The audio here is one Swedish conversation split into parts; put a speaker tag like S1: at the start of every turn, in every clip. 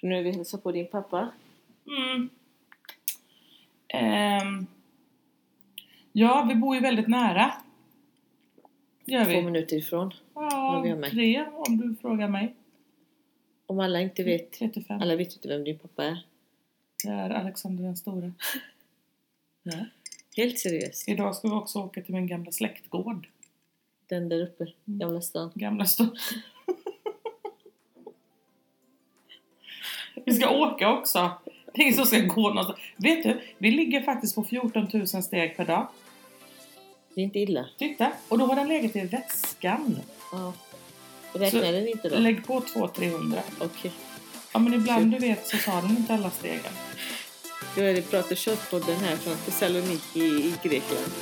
S1: För nu är vi och hälsar på din pappa.
S2: Mm. Ehm. ja, vi bor ju väldigt nära. Gör
S1: Två
S2: vi.
S1: minuter ifrån.
S2: Ja,
S1: vad vi har med.
S2: tre om du frågar mig.
S1: Om alla inte vet.
S2: 35.
S1: Alla vet inte vem din pappa är.
S2: Det är Alexander den store. Ja.
S1: Helt seriöst.
S2: Idag ska vi också åka till min gamla släktgård.
S1: Den där uppe. Gamla stan.
S2: Gamla stan. vi ska åka också. Det är ingen som ska gå någonstans. Vet du, vi ligger faktiskt på 14 000 steg per dag.
S1: Det är inte illa.
S2: Titta, och då har den legat i väskan.
S1: Ja. Räknar
S2: Så-
S1: den inte då? Okej.
S2: Lägg på 200-300. Ja men ibland du vet så tar den inte alla stegen.
S1: Då är det Prata Kött-podden här från Thessaloniki i Grekland.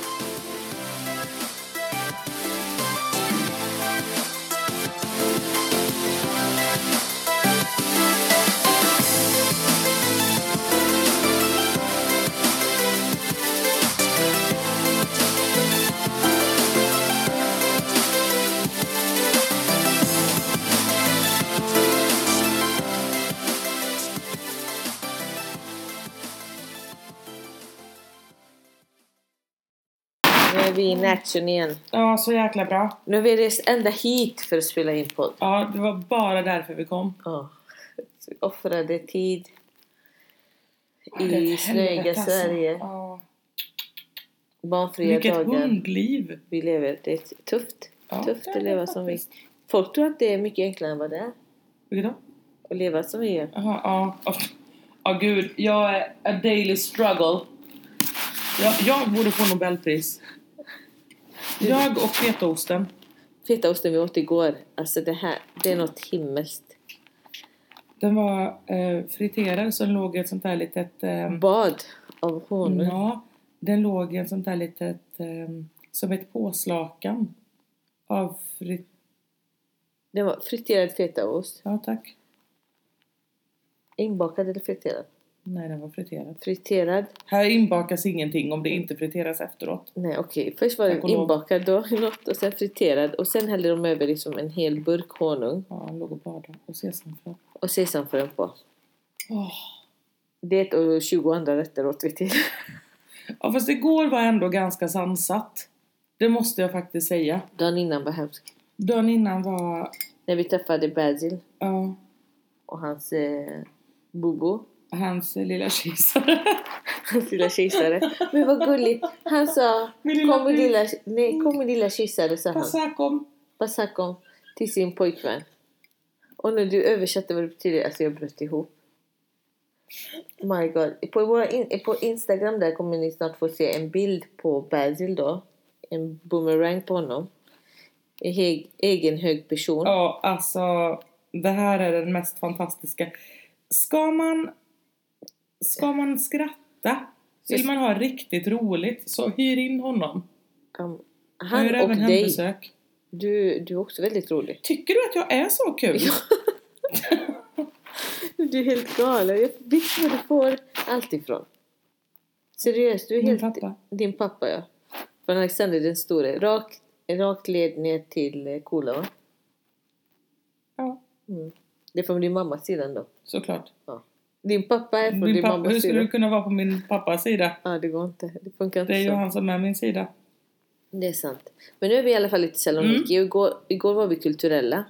S1: Nu är vi in action igen.
S2: Ja, så jäkla bra.
S1: Nu har vi rest ända hit för att spela in podd.
S2: Ja, det var bara därför vi kom.
S1: Ja. Vi Offrade tid
S2: Det är
S1: i
S2: ett helvete,
S1: snöiga
S2: alltså.
S1: Sverige.
S2: Ja.
S1: Barnfria
S2: Vilket
S1: dagar.
S2: hundliv!
S1: Vi lever. Det är tufft.
S2: Ja,
S1: tufft
S2: det är
S1: att
S2: det
S1: leva som vi.
S2: faktiskt.
S1: Folk tror att det är mycket enklare än vad det är.
S2: Vilket då?
S1: Att leva som vi gör.
S2: Jaha, ja. Ja, Ja, gud. Jag är a daily struggle. Jag, jag borde få Nobelpris. Jag och fetaosten.
S1: Fetaosten vi åt igår. Alltså det här. Det är något himmelskt.
S2: Den var eh, friterad så den låg i ett sånt där litet... ehm,
S1: Bad av honung.
S2: Ja, den låg i en sånt där litet... ehm, som ett påslakan. Av frit...
S1: Det var friterad fetaost.
S2: Ja, tack.
S1: Inbakad eller friterad?
S2: Nej, den var friterad.
S1: Friterad?
S2: Här inbakas ingenting om det inte friteras efteråt.
S1: Nej okej. Först var den
S2: Tack och lov.
S1: inbakad då i något och sen friterad. Och sen hällde de över liksom en hel burk honung
S2: Ja, han låg och badade och sesamfrön.
S1: och sesamfrön på.
S2: Åh.
S1: Det och 20 andra rätter åt vi till.
S2: Ja, fast igår var ändå ganska sansat. Det måste jag faktiskt säga.
S1: Dagen innan var hemsk.
S2: Dagen innan var...
S1: När vi träffade Basil
S2: Ja,
S1: och hans eh, bobo.
S2: hans lilla kisare.
S1: Hans lilla kysare. Men vad gulligt. Han sa
S2: Min lilla
S1: kom min lilla, nej, kom min lilla kysare sa han.
S2: Fast här kom...
S1: Basakom till sin pojkvän. Och när du översatte vad det betyder, alltså jag bröt ihop. My god. På, våra in, på Instagram där kommer ni snart få se en bild på Basil då. En boomerang på honom. I heg, egen hög person.
S2: Ja, alltså... Det här är den mest fantastiska. Ska man... Ska man skratta? Vill man ha riktigt roligt så hyr in honom.
S1: Um,
S2: Jag gör
S1: han och
S2: även
S1: dig.
S2: hembesök.
S1: Du, du är också väldigt rolig.
S2: Tycker du att jag är så kul?
S1: Du är helt galen. Jag vet var du får allt ifrån. Seriöst, du är
S2: Min
S1: helt...
S2: pappa.
S1: Din pappa, ja. Från Alexander den store. Rakt rak led ner till eh, Kola, va?
S2: Ja,
S1: Mm. Det är från din mammas sida då.
S2: såklart.
S1: Ja. Din pappa är från
S2: Min
S1: din
S2: pappa, hur
S1: mammas
S2: skulle
S1: sida.
S2: du kunna vara på min pappas sida?
S1: Ja, det går inte. Det funkar inte
S2: Det är ju
S1: så.
S2: han som är min sida.
S1: Det är sant. Men nu är vi i alla fall i
S2: Mm.
S1: Thessaloniki. Och Igår, igår var vi kulturella.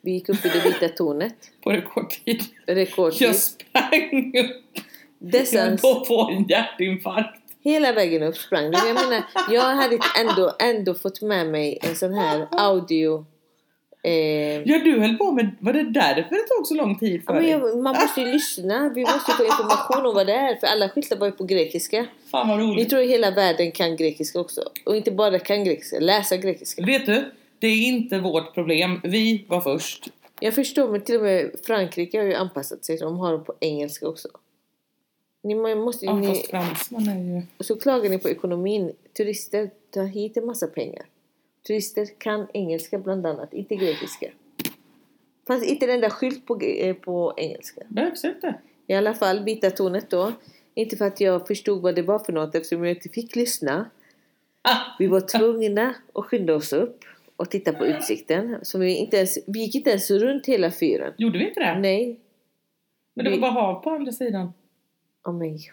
S1: Vi gick upp i det vita tornet.
S2: På rekordtid.
S1: Rekordtid.
S2: Jag sprang upp. Jag höll
S1: Dessans...
S2: på att få en hjärtinfarkt.
S1: Hela vägen upp sprang du. Jag menar, jag hade ändå, ändå fått med mig en sån här audio... Eh,
S2: Ja, du höll på med... Var det därför det tog så lång tid
S1: ja,
S2: för
S1: men
S2: dig?
S1: jag, man måste ju lyssna, vi måste få information om vad det är. För alla skyltar var ju på grekiska.
S2: Fan vad
S1: Ni
S2: roligt.
S1: tror ju hela världen kan grekiska också. Och inte bara kan grekiska, läsa grekiska.
S2: Vet du? Det är inte vårt problem. Vi var först.
S1: Jag förstår, men till och med Frankrike har ju anpassat sig. De har dem på engelska också. Ni må- måste ju...
S2: Ja, fast
S1: Ni,
S2: fransmän är ju...
S1: och så klagar ni på ekonomin. Turister tar hit en massa pengar. Turister kan engelska bland annat, inte grekiska. Fanns inte den där skylt på, gre- eh, på engelska.
S2: Behövs inte.
S1: I alla fall, vita tornet då. Inte för att jag förstod vad det var för något eftersom jag inte fick lyssna.
S2: Ah,
S1: Vi var tvungna att skynda oss upp och titta på utsikten. Så vi, inte ens, vi gick inte ens runt hela fyren.
S2: gjorde vi inte det?
S1: Nej.
S2: Men det var
S1: Vi-
S2: bara hav på andra sidan.
S1: Ja men ja.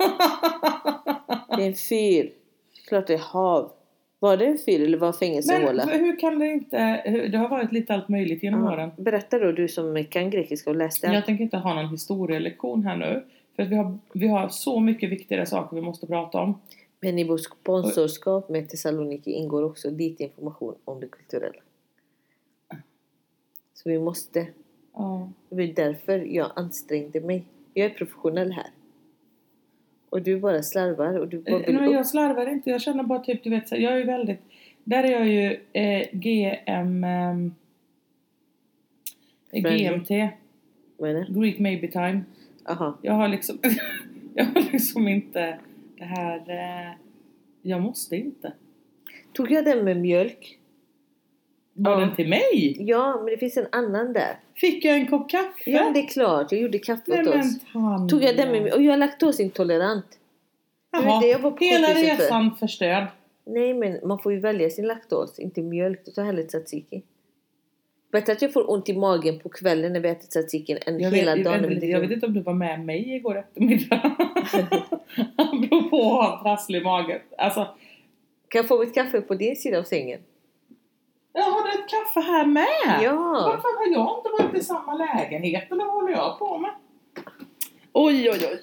S1: Oh bara. Det är en fyr. Klart det är hav. Var det en fyr eller var
S2: Men
S1: fängelsehåla?
S2: hur kan det inte... hur- Det har varit lite allt möjligt genom åren.
S1: Ja. Berätta då du som kan grekiska och läste.
S2: Jag tänker inte ha någon historielektion här nu. För att vi har, vi har så mycket viktigare saker vi måste prata om.
S1: Men i vårt sponsorskap med Thessaloniki ingår också lite information om det kulturella. Så vi måste.
S2: Ja.
S1: Det var därför jag ansträngde mig. Jag är professionell här. Och du bara slarvar och du bara
S2: Eh,
S1: vill
S2: Nej,
S1: upp.
S2: jag slarvar inte. Jag känner bara typ, du vet, så här, jag är ju väldigt... Där är jag ju eh, GM... ehm,
S1: Friendly.
S2: GMT.
S1: Vad är det?
S2: Greek Maybe Time.
S1: Aha.
S2: Jag har liksom... jag har liksom inte det här... Eh, jag måste inte.
S1: Tog jag den med mjölk?
S2: Var
S1: Ja.
S2: den till mig?
S1: Ja, men det finns en annan där.
S2: Fick jag en kopp kaffe?
S1: Ja, men det är klart. Jag gjorde kaffe
S2: Nej,
S1: åt oss.
S2: men fan.
S1: Tog jag den med mjölk? Och jag är laktosintolerant. Det var
S2: Jaha,
S1: det jag var på
S2: Hela
S1: sjukhuset för.
S2: resan förstörd.
S1: Nej, men man får ju välja sin laktos, inte mjölk. Då tar jag hellre tzatziki. Bättre att jag får ont i magen på kvällen när vi äter tzatziki än
S2: Jag
S1: hela
S2: vet,
S1: dagen.
S2: jag,
S1: när vi
S2: vet, jag vet
S1: dricker.
S2: inte om du var med mig igår eftermiddag. Apropå att ha trasslig mage. Alltså,
S1: Kan jag få mitt kaffe på din sida av sängen?
S2: jag har du ett kaffe här med?
S1: Ja!
S2: Varför har jag inte varit i samma lägenhet eller vad håller jag på med? Oj, oj, oj.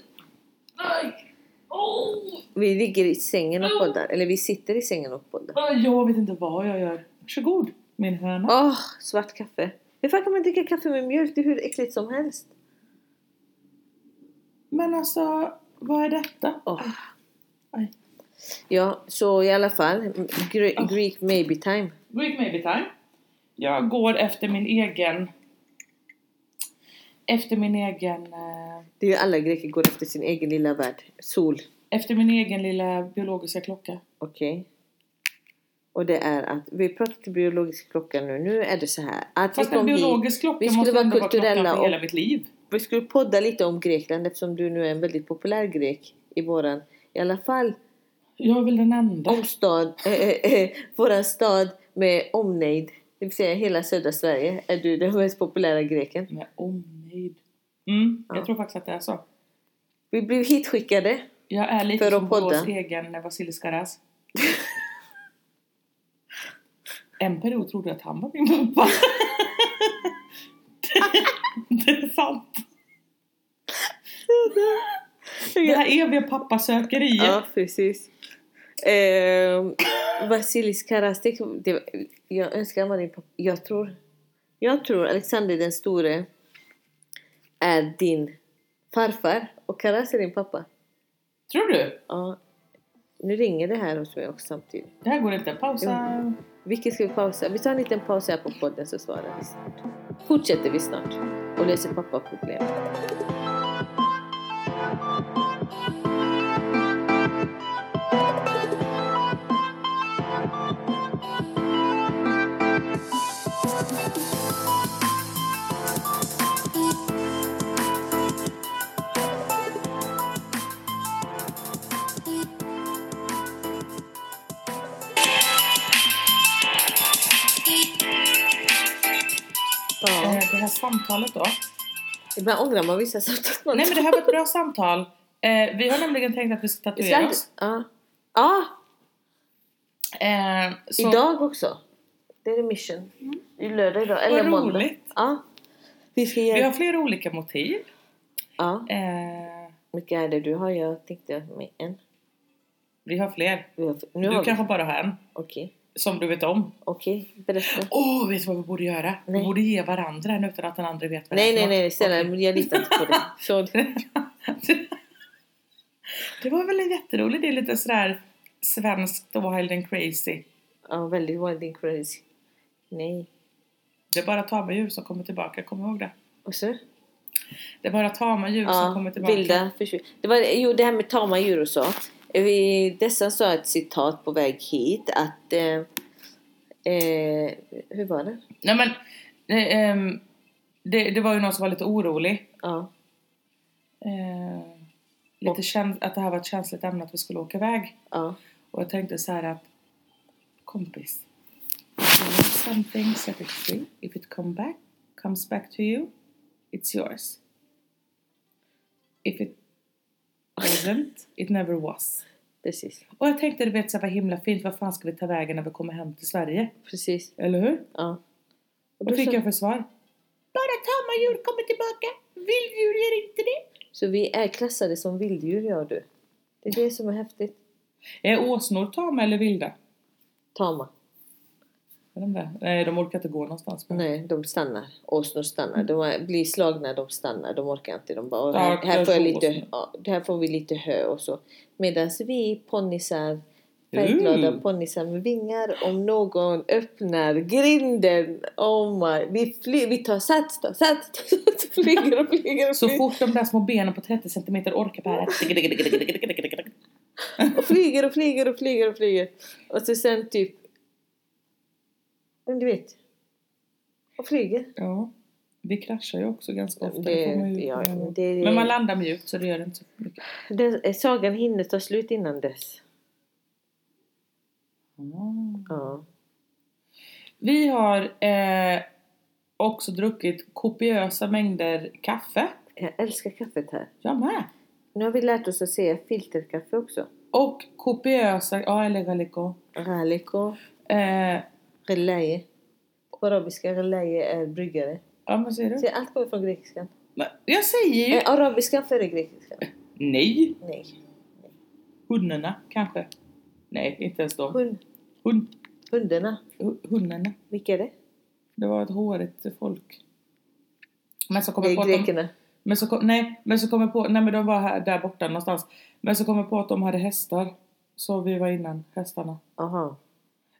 S2: Aj. Oh.
S1: Vi ligger i sängen och poddar. Eller vi sitter i sängen och poddar.
S2: Aj, Jag vet inte vad jag gör. Varsågod, min höna.
S1: Åh, svart kaffe. Hur fan kan man dricka kaffe med mjölk? Det är hur äckligt som helst.
S2: Men alltså, vad är detta?
S1: Åh.
S2: Aj.
S1: Ja, så i alla fall. Gre-
S2: Ah.
S1: Greek maybe time.
S2: Greek maybe time. Jag går efter min egen... Efter min egen... eh,
S1: Det är ju alla greker går efter sin egen lilla värld. Sol.
S2: Efter min egen lilla biologiska klocka.
S1: Okej. Och det är att, vi pratar till biologisk klocka nu. Nu är det så här. Att vi,
S2: Fast en
S1: kom hit,
S2: biologisk klocka
S1: vi skulle
S2: måste
S1: vara
S2: ändå vara klockan
S1: kulturella
S2: för
S1: och-
S2: hela mitt liv.
S1: vi skulle podda lite om Grekland eftersom du nu är en väldigt populär grek i våran, i alla fall,
S2: Jag är väl den enda.
S1: om stad, eh, eh, eh, våran stad med omnejd. Det vill säga hela södra Sverige är du den mest populära greken.
S2: Med omnejd. Mm,
S1: Ja.
S2: jag tror faktiskt att det är så.
S1: Vi blev hitskickade.
S2: Jag är lite
S1: För att
S2: som
S1: podda.
S2: Borås egen Vasilis Karas. en period trodde jag att han var min pappa. det, det är sant. Det här eviga pappasökeriet.
S1: Ja, precis. Eh, Vasilis Karastik. Det, var- jag önskar han var din pappa. Jag tror, jag tror Alexander den store är din farfar och Karas är din pappa.
S2: Tror du?
S1: Ja. Nu ringer det här hos mig också samtidigt.
S2: Det här går inte. Pausa.
S1: Vilket ska vi pausa? Vi tar en liten paus här på podden så svarar vi snart. Fortsätter vi snart och löser pappa problem.
S2: Eh,
S1: Ja.
S2: Det här samtalet då.
S1: Ibland ångrar man vissa saker.
S2: Nej men det här var ett bra samtal. Eh, vi har nämligen tänkt att vi ska tatuera
S1: Slant-
S2: oss.
S1: Ja. ja,
S2: Eh, så
S1: idag också. Det är mission. Det är Mm. lördag idag. Eller
S2: vad
S1: måndag.
S2: roligt.
S1: Ja. Vi ska
S2: Vi
S1: göra...
S2: har flera olika motiv.
S1: Ja.
S2: Eh,
S1: Vilka är det du har? Jag tänkte med en.
S2: vi har fler.
S1: Vi har... Nu
S2: Du
S1: har
S2: kanske
S1: vi.
S2: bara har en.
S1: Okej.
S2: Som du vet om.
S1: Okej, berätta.
S2: Åh, vet du vad vi borde göra?
S1: Nej.
S2: Vi borde ge varandra en utan att den andra vet vad det
S1: Nej, nej,
S2: är för
S1: nej.
S2: något.
S1: Snälla, jag litar inte på dig. Så...
S2: Okej. det var väl en jätterolig idé. Lite sådär svenskt och wild and crazy.
S1: Ja, väldigt wild and crazy. Nej.
S2: Det är bara tama djur som kommer tillbaka. Kom ihåg det.
S1: Och så?
S2: Det är bara tama djur som
S1: Ja,
S2: kommer tillbaka.
S1: vilda försvin- det var, Jo, det här med tama djur och så. Eh, Vi, dessa sa ett citat på väg hit att... Eh, eh, hur var det?
S2: Nej men, det, ehm, det, det var ju någon som var lite orolig.
S1: Ja.
S2: Eh, lite käns- att det här var ett känsligt ämne att vi skulle åka iväg.
S1: ja.
S2: Och jag tänkte så här att, kompis. You want something set it free. If it come back, comes back to you, it's yours. If it wasn't, it never was.
S1: Precis.
S2: Och jag tänkte, du vet så här, vad himla fint, vad fan ska vi ta vägen när vi kommer hem till Sverige?
S1: Precis.
S2: Eller hur?
S1: Ja. Och
S2: Vad
S1: då
S2: fick
S1: så,
S2: jag för svar? Bara tama djur kommer tillbaka. Vilddjur gör inte det.
S1: så vi är klassade som vilddjur, jag och du. Det är det som är häftigt.
S2: Är åsnor tama eller vilda?
S1: Tama.
S2: Är de där? Nej, de orkar inte gå någonstans. bara.
S1: Nej, de stannar. Åsnor stannar. De är- blir slagna, de stannar. De orkar inte. De bara,
S2: Ja,
S1: här, här, får jag
S2: kanske
S1: lite,
S2: åsnor.
S1: ja, här får vi lite hö och så. Medan vi ponnisar,
S2: Mm.
S1: färgglada ponnisar med vingar, om någon öppnar grinden, oh my, vi, fly, vi tar sats, tar sats, tar sats, flyger och flyger och
S2: Så
S1: flyger.
S2: fort de där små benen på 30 cm orkar bära.
S1: Och flyger och flyger och flyger och flyger. Och så sen typ... Men du vet. Och flyger.
S2: Ja, vi kraschar ju också ganska ofta. Det
S1: Det,
S2: får man ju-
S1: ja, det,
S2: Men man landar mjukt så det gör inte så mycket.
S1: den, eh, sagan hinner ta slut innan dess.
S2: Mm.
S1: Ja.
S2: Vi har eh, också druckit kopiösa mängder kaffe.
S1: Jag älskar kaffet här.
S2: Jag med.
S1: Nu har vi lärt oss att säga filterkaffe också.
S2: Och kopiösa... Ja, eller galiko.
S1: Raliko,
S2: Eh,
S1: relaye. På arabiska relaye är bryggare.
S2: ja, vad säger du?
S1: Så allt kommer från grekiskan. Eh,
S2: Nej, Jag säger ju...
S1: Är arabiskan före grekiskan?
S2: Nej!
S1: Nej.
S2: Hundarna, kanske. Nej, inte ens dem.
S1: Hund,
S2: Hund,
S1: hundarna.
S2: hu- hundarna.
S1: Vilka är det?
S2: Det var ett hårigt folk. Men så kommer
S1: Det
S2: jag på
S1: är
S2: att de,
S1: grekerna.
S2: men så kom, Nej, men så kommer jag på... Nej, men de var här, där borta någonstans. Men så kommer jag på att de hade hästar. Så vi var innan hästarna.
S1: Aha.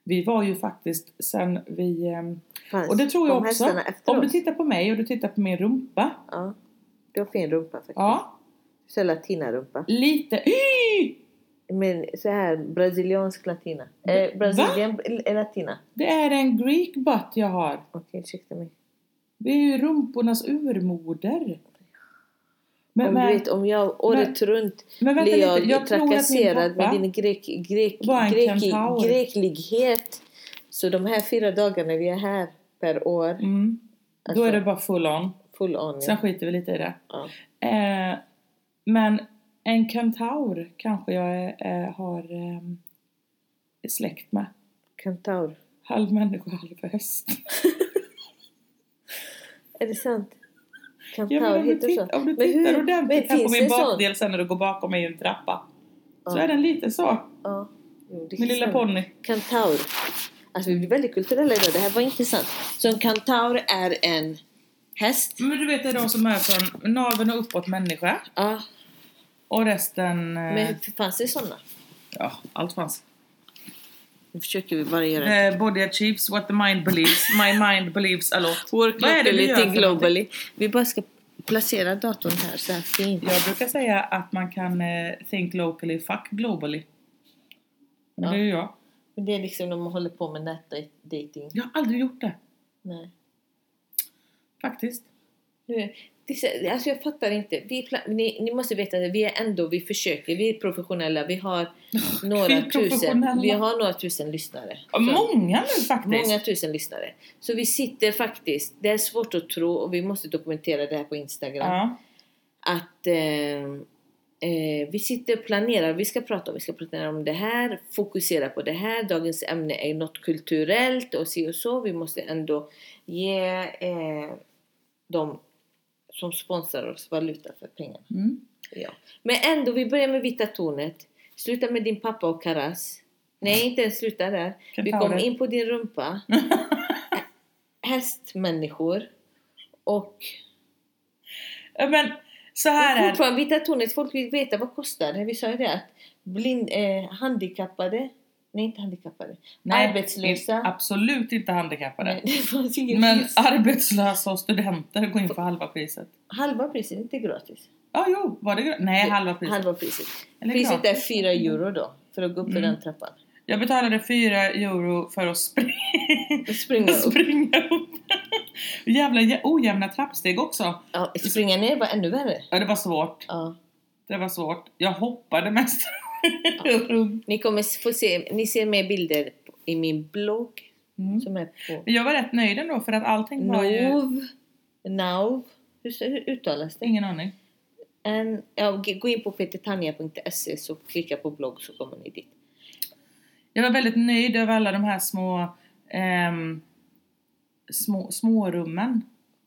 S2: Vi var ju faktiskt sen vi... ehm,
S1: Fanns
S2: Och det tror jag
S1: de
S2: också.
S1: hästarna efter
S2: Om du
S1: oss?
S2: tittar på mig och du tittar på min rumpa.
S1: Ja. Du har fin rumpa faktiskt.
S2: Ja,
S1: Så latinarumpa.
S2: lite...
S1: Men så här brasiliansk latina. Eh, Brasilien är latina.
S2: Det är en Greek butt jag har.
S1: Okej, ursäkta mig.
S2: Det är ju rumpornas urmoder. Men,
S1: Om,
S2: men,
S1: du vet, om jag året runt
S2: men vänta
S1: blir jag,
S2: lite, jag tror att min
S1: trakasserad med
S2: pappa...
S1: din grek, grek,
S2: var en
S1: grek,
S2: kentaur.
S1: greklighet. Så de här fyra dagarna vi är här per år,
S2: Mm,
S1: Alltså-
S2: då är det bara full on.
S1: full on.
S2: Sen
S1: Ja.
S2: skiter vi lite i det.
S1: Ja.
S2: Eh, men en kentaur kanske jag eh, har eh, är släkt med.
S1: Kentaur.
S2: Halv människa, halv häst.
S1: Är det sant?
S2: Ja,
S1: Kentaur
S2: men om, du
S1: heter
S2: titt,
S1: så.
S2: om du
S1: Men hur-
S2: tittar
S1: men
S2: ordentligt här på
S1: finns
S2: min
S1: det en sån?
S2: bakdel sen när du går bakom mig i en trappa. Så
S1: Ja.
S2: är den lite så.
S1: Ja. Jo, det
S2: Min
S1: är
S2: lilla
S1: sant.
S2: ponny.
S1: Kantaur. Alltså vi blir väldigt kulturella idag, det här var intressant. Så en kantaur är en häst.
S2: Men du vet det är de som är från naveln och uppåt människa.
S1: Ja,
S2: Och resten... eh,
S1: men fanns det sådana?
S2: Ja, allt fanns.
S1: Nu försöker vi bara göra det.
S2: The body achieves what the mind believes. My mind believes a lot.
S1: Work
S2: Vad är det vi
S1: locally,
S2: gör
S1: think
S2: för någonting?
S1: globally. Vi bara ska placera datorn här så här fint.
S2: Jag brukar säga att man kan eh, think locally, fuck globally. Men
S1: Ja.
S2: Det är ju jag.
S1: Men det är liksom när man håller på med nätdating.
S2: Jag har aldrig gjort det.
S1: Nej.
S2: Faktiskt.
S1: Nu, det, är så- alltså jag fattar inte. Vi, pla- ni, ni måste veta att vi är ändå, vi försöker, vi är professionella. Vi har några
S2: är
S1: tusen,
S2: professionella.
S1: vi har några tusen lyssnare.
S2: Ja,
S1: Så-
S2: Många nu faktiskt.
S1: Många tusen lyssnare. Så vi sitter faktiskt, det är svårt att tro och vi måste dokumentera det här på Instagram.
S2: Ja.
S1: Att eh, eh, vi sitter och planerar, vi ska prata om, vi ska prata om det här, fokusera på det här, dagens ämne är något kulturellt och si och så. Vi måste ändå ge eh, dem som sponsrar oss valuta för pengarna.
S2: Mm.
S1: Ja. Men ändå, vi börjar med Vita tornet. Sluta med din pappa och Karas. Nej, inte ens sluta där.
S2: Kan
S1: Vi
S2: ta
S1: kom
S2: det.
S1: in på din rumpa. Hästmänniskor. Och
S2: Ja, Men så här är det.
S1: fortfarande Vita tornet, folk vill veta vad kostar det. Vi sa ju det att blind, eh, handikappade, nej inte handikappade,
S2: Nej,
S1: arbetslösa.
S2: inte- Absolut inte handikappade.
S1: Nej, det fanns ingen
S2: Men
S1: pris.
S2: arbetslösa och studenter går in för halva priset.
S1: Halva priset, inte gratis.
S2: Ja, jo, var det gra- Nej, halva priset.
S1: Halva priset.
S2: Eller
S1: priset är
S2: gratis.
S1: 4 euro då, för att gå upp för
S2: Mm.
S1: den trappan.
S2: Jag betalade 4 euro för att springa,
S1: Och Springa upp.
S2: springa upp. Jävla jä- ojämna trappsteg också.
S1: Ja, springa ner var ännu värre.
S2: Ja, det var svårt.
S1: Ja.
S2: Det var svårt. Jag hoppade mest runt.
S1: Ni kommer få se, ni ser mer bilder i min blogg som är på
S2: Jag var rätt nöjd ändå för att allting var ju...
S1: Nov, Nauv. Hur, hur uttalas det?
S2: Ingen aning.
S1: En, Ehm, ja, g- gå in på petertanja.se så klicka på blogg så kommer ni dit.
S2: Jag var väldigt nöjd över alla de här små, ehm, små smårummen.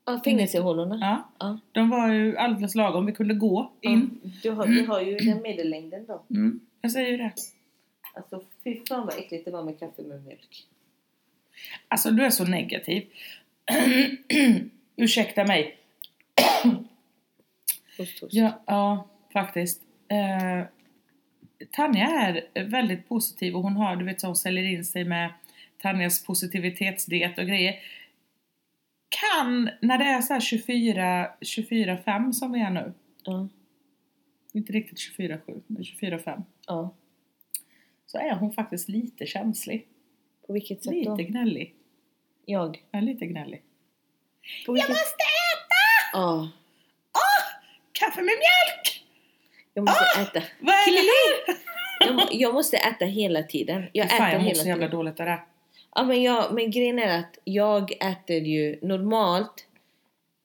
S1: Ja, fängelsehålorna.
S2: Ja.
S1: Ja.
S2: De var ju alldeles lagom, vi kunde gå in.
S1: Ja, Du har, vi har ju den medellängden då.
S2: Mm. Jag säger ju det.
S1: Alltså fy fan vad äckligt det var med kaffe med mjölk.
S2: Alltså du är så negativ. Ursäkta mig.
S1: Host, host.
S2: Ja, ja faktiskt. Eh, Tanja är väldigt positiv och hon har, du vet så hon säljer in sig med Tanjas positivitetsdiet och grejer. Kan, när det är så här 24, 24-5 som vi är nu,
S1: Ja.
S2: inte riktigt 24-7, men 24-5,
S1: ja.
S2: så är hon faktiskt lite känslig.
S1: På vilket sätt
S2: Lite
S1: då?
S2: gnällig.
S1: Jag.
S2: Ja, lite gnällig.
S1: På vilket... Jag måste äta! Ja.
S2: Kaffe med mjölk!
S1: Jag måste äta.
S2: Vad är det här?
S1: Jag, må, jag måste äta hela tiden. Jag äter
S2: Fan, jag mår
S1: hela
S2: så
S1: tiden.
S2: jävla dåligt av det här.
S1: Ja, men, jag, men grejen är att jag äter ju normalt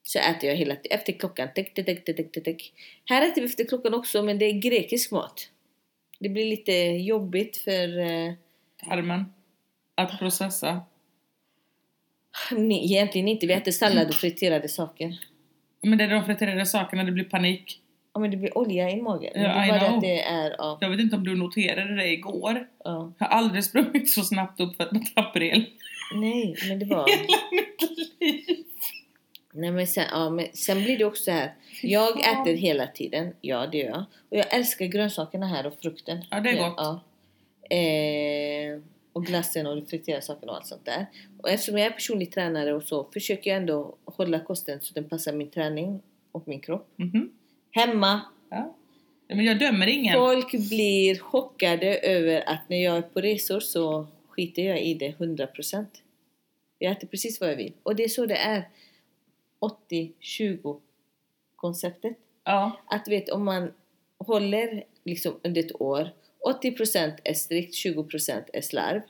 S1: så äter jag hela tiden efter klockan. Tick, tick, tick, tick, tick, tick. Här äter vi efter klockan också men det är grekisk mat. Det blir lite jobbigt för eh,
S2: Tarmen. Att processa.
S1: nej, egentligen inte. Vi äter sallad och friterade saker.
S2: Men det är de friterade sakerna, det blir panik.
S1: Ja, men det blir olja i magen.
S2: Ja,
S1: det är
S2: I
S1: bara det
S2: know.
S1: att det är ja,
S2: Jag vet inte om du noterade det igår.
S1: ja.
S2: Jag har aldrig sprungit så snabbt upp för ett trapprel.
S1: Nej, men det var... Nej, men sen, ja, men sen blir det också så här. Jag
S2: fan.
S1: äter hela tiden. Ja, det gör jag. Och jag älskar grönsakerna här och frukten.
S2: Ja, det är gott.
S1: Ja. Eh, och glassen och de friterade sakerna och allt sånt där. Och eftersom jag är personlig tränare och så försöker jag ändå hålla kosten så den passar min träning och min kropp.
S2: Mhm.
S1: Hemma
S2: Ja. Ja, Men jag dömer ingen.
S1: Folk blir chockade över att när jag är på resor så skiter jag i det 100%. Jag äter precis vad jag vill. Och det är så det är. 80-20 konceptet.
S2: Ja.
S1: Att du vet om man håller liksom under ett år. 80% är strikt, 20% är slarv.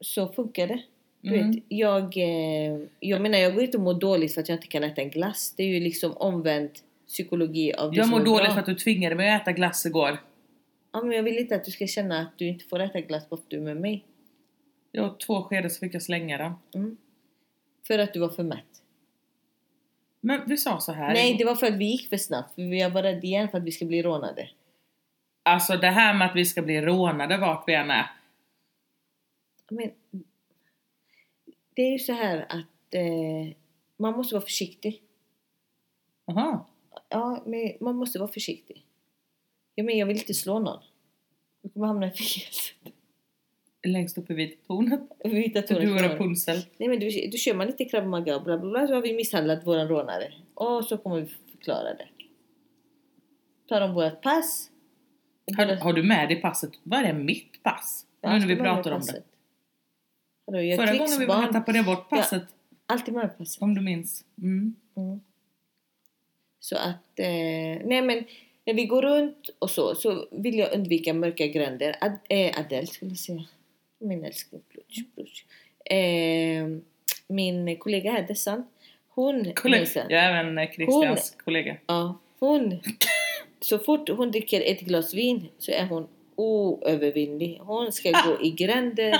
S1: Så funkar det. Du
S2: Mm.
S1: vet, jag, eh, jag menar jag går inte och mår dåligt för att jag inte kan äta en glass. Det är ju liksom omvänd psykologi av det
S2: Jag
S1: som
S2: mår
S1: är
S2: dåligt
S1: bra.
S2: för att du tvingade mig att äta glass igår.
S1: Ja, men jag vill inte att du ska känna att du inte får äta glass bara för att du är med mig.
S2: Jag åt två skedar så fick jag slänga dem.
S1: Mm. För att du var för mätt.
S2: Men vi sa så här.
S1: Nej, det var för att vi gick för snabbt. För jag var rädd igen för att vi skulle bli rånade.
S2: Alltså det här med att vi ska bli rånade vart vi än är.
S1: Men, det är ju så här att eh, man måste vara försiktig.
S2: Aha.
S1: Ja, men man måste vara försiktig. Ja, men jag vill inte slå någon. Du kommer hamna i fängelse.
S2: Längst upp i vita tornet.
S1: Vi hittar
S2: Du och
S1: tornet.
S2: Rapunzel.
S1: Nej, men du, du kör man lite krav maga och bla bla bla så har vi misshandlat våran rånare. Och så kommer vi förklara det. Tar de vårt pass.
S2: Har, har du med dig passet? Var är mitt pass? nu när vi pratar om det.
S1: Hallå, jag
S2: Förra gången vi var här tappade jag bort passet.
S1: Alltid med passet.
S2: Om du minns. Mm.
S1: Mm. Så att, eh, nej men när vi går runt och så, så vill jag undvika mörka gränder. Ad, eh, Adele skulle jag säga. Min älskling Plutch, Plutch. Eh, min kollega här, Dessan. Hon,
S2: Kollega.
S1: minns jag.
S2: Jag är även eh, Christians kollega.
S1: Ja, hon... Så fort hon dricker ett glas vin så är hon oövervinnlig. Hon ska gå i gränder,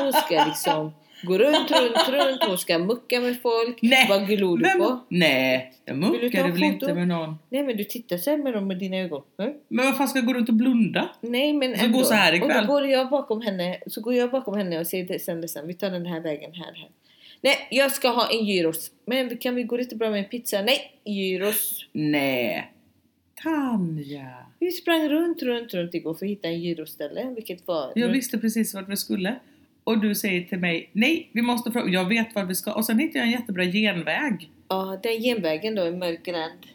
S1: hon ska liksom gå runt, runt, runt, hon ska mucka med folk.
S2: Nej.
S1: Vad glor du på?
S2: Nej, jag
S1: Vill du ta
S2: muckade väl
S1: foto?
S2: inte med någon.
S1: Nej men du tittar så här med dem med dina ögon. Mm.
S2: Men vad fan ska jag gå runt och blunda?
S1: Nej men
S2: Så gå så här ikväll.
S1: Och då går jag bakom henne, så går jag bakom henne och säger det sen, det sen. vi tar den här vägen här, här. Nej, jag ska ha en gyros. Men kan vi gå lite bra med en pizza? Nej, gyros.
S2: Nej. Tanja.
S1: Vi sprang runt, runt, runt igår för att hitta en gyroställe, vilket var...
S2: Jag visste precis vart vi skulle. Och du säger till mig, nej vi måste fråga, jag vet vart vi ska. Och sen hittade jag en jättebra genväg.
S1: Ja, den genvägen då i mörk gränd.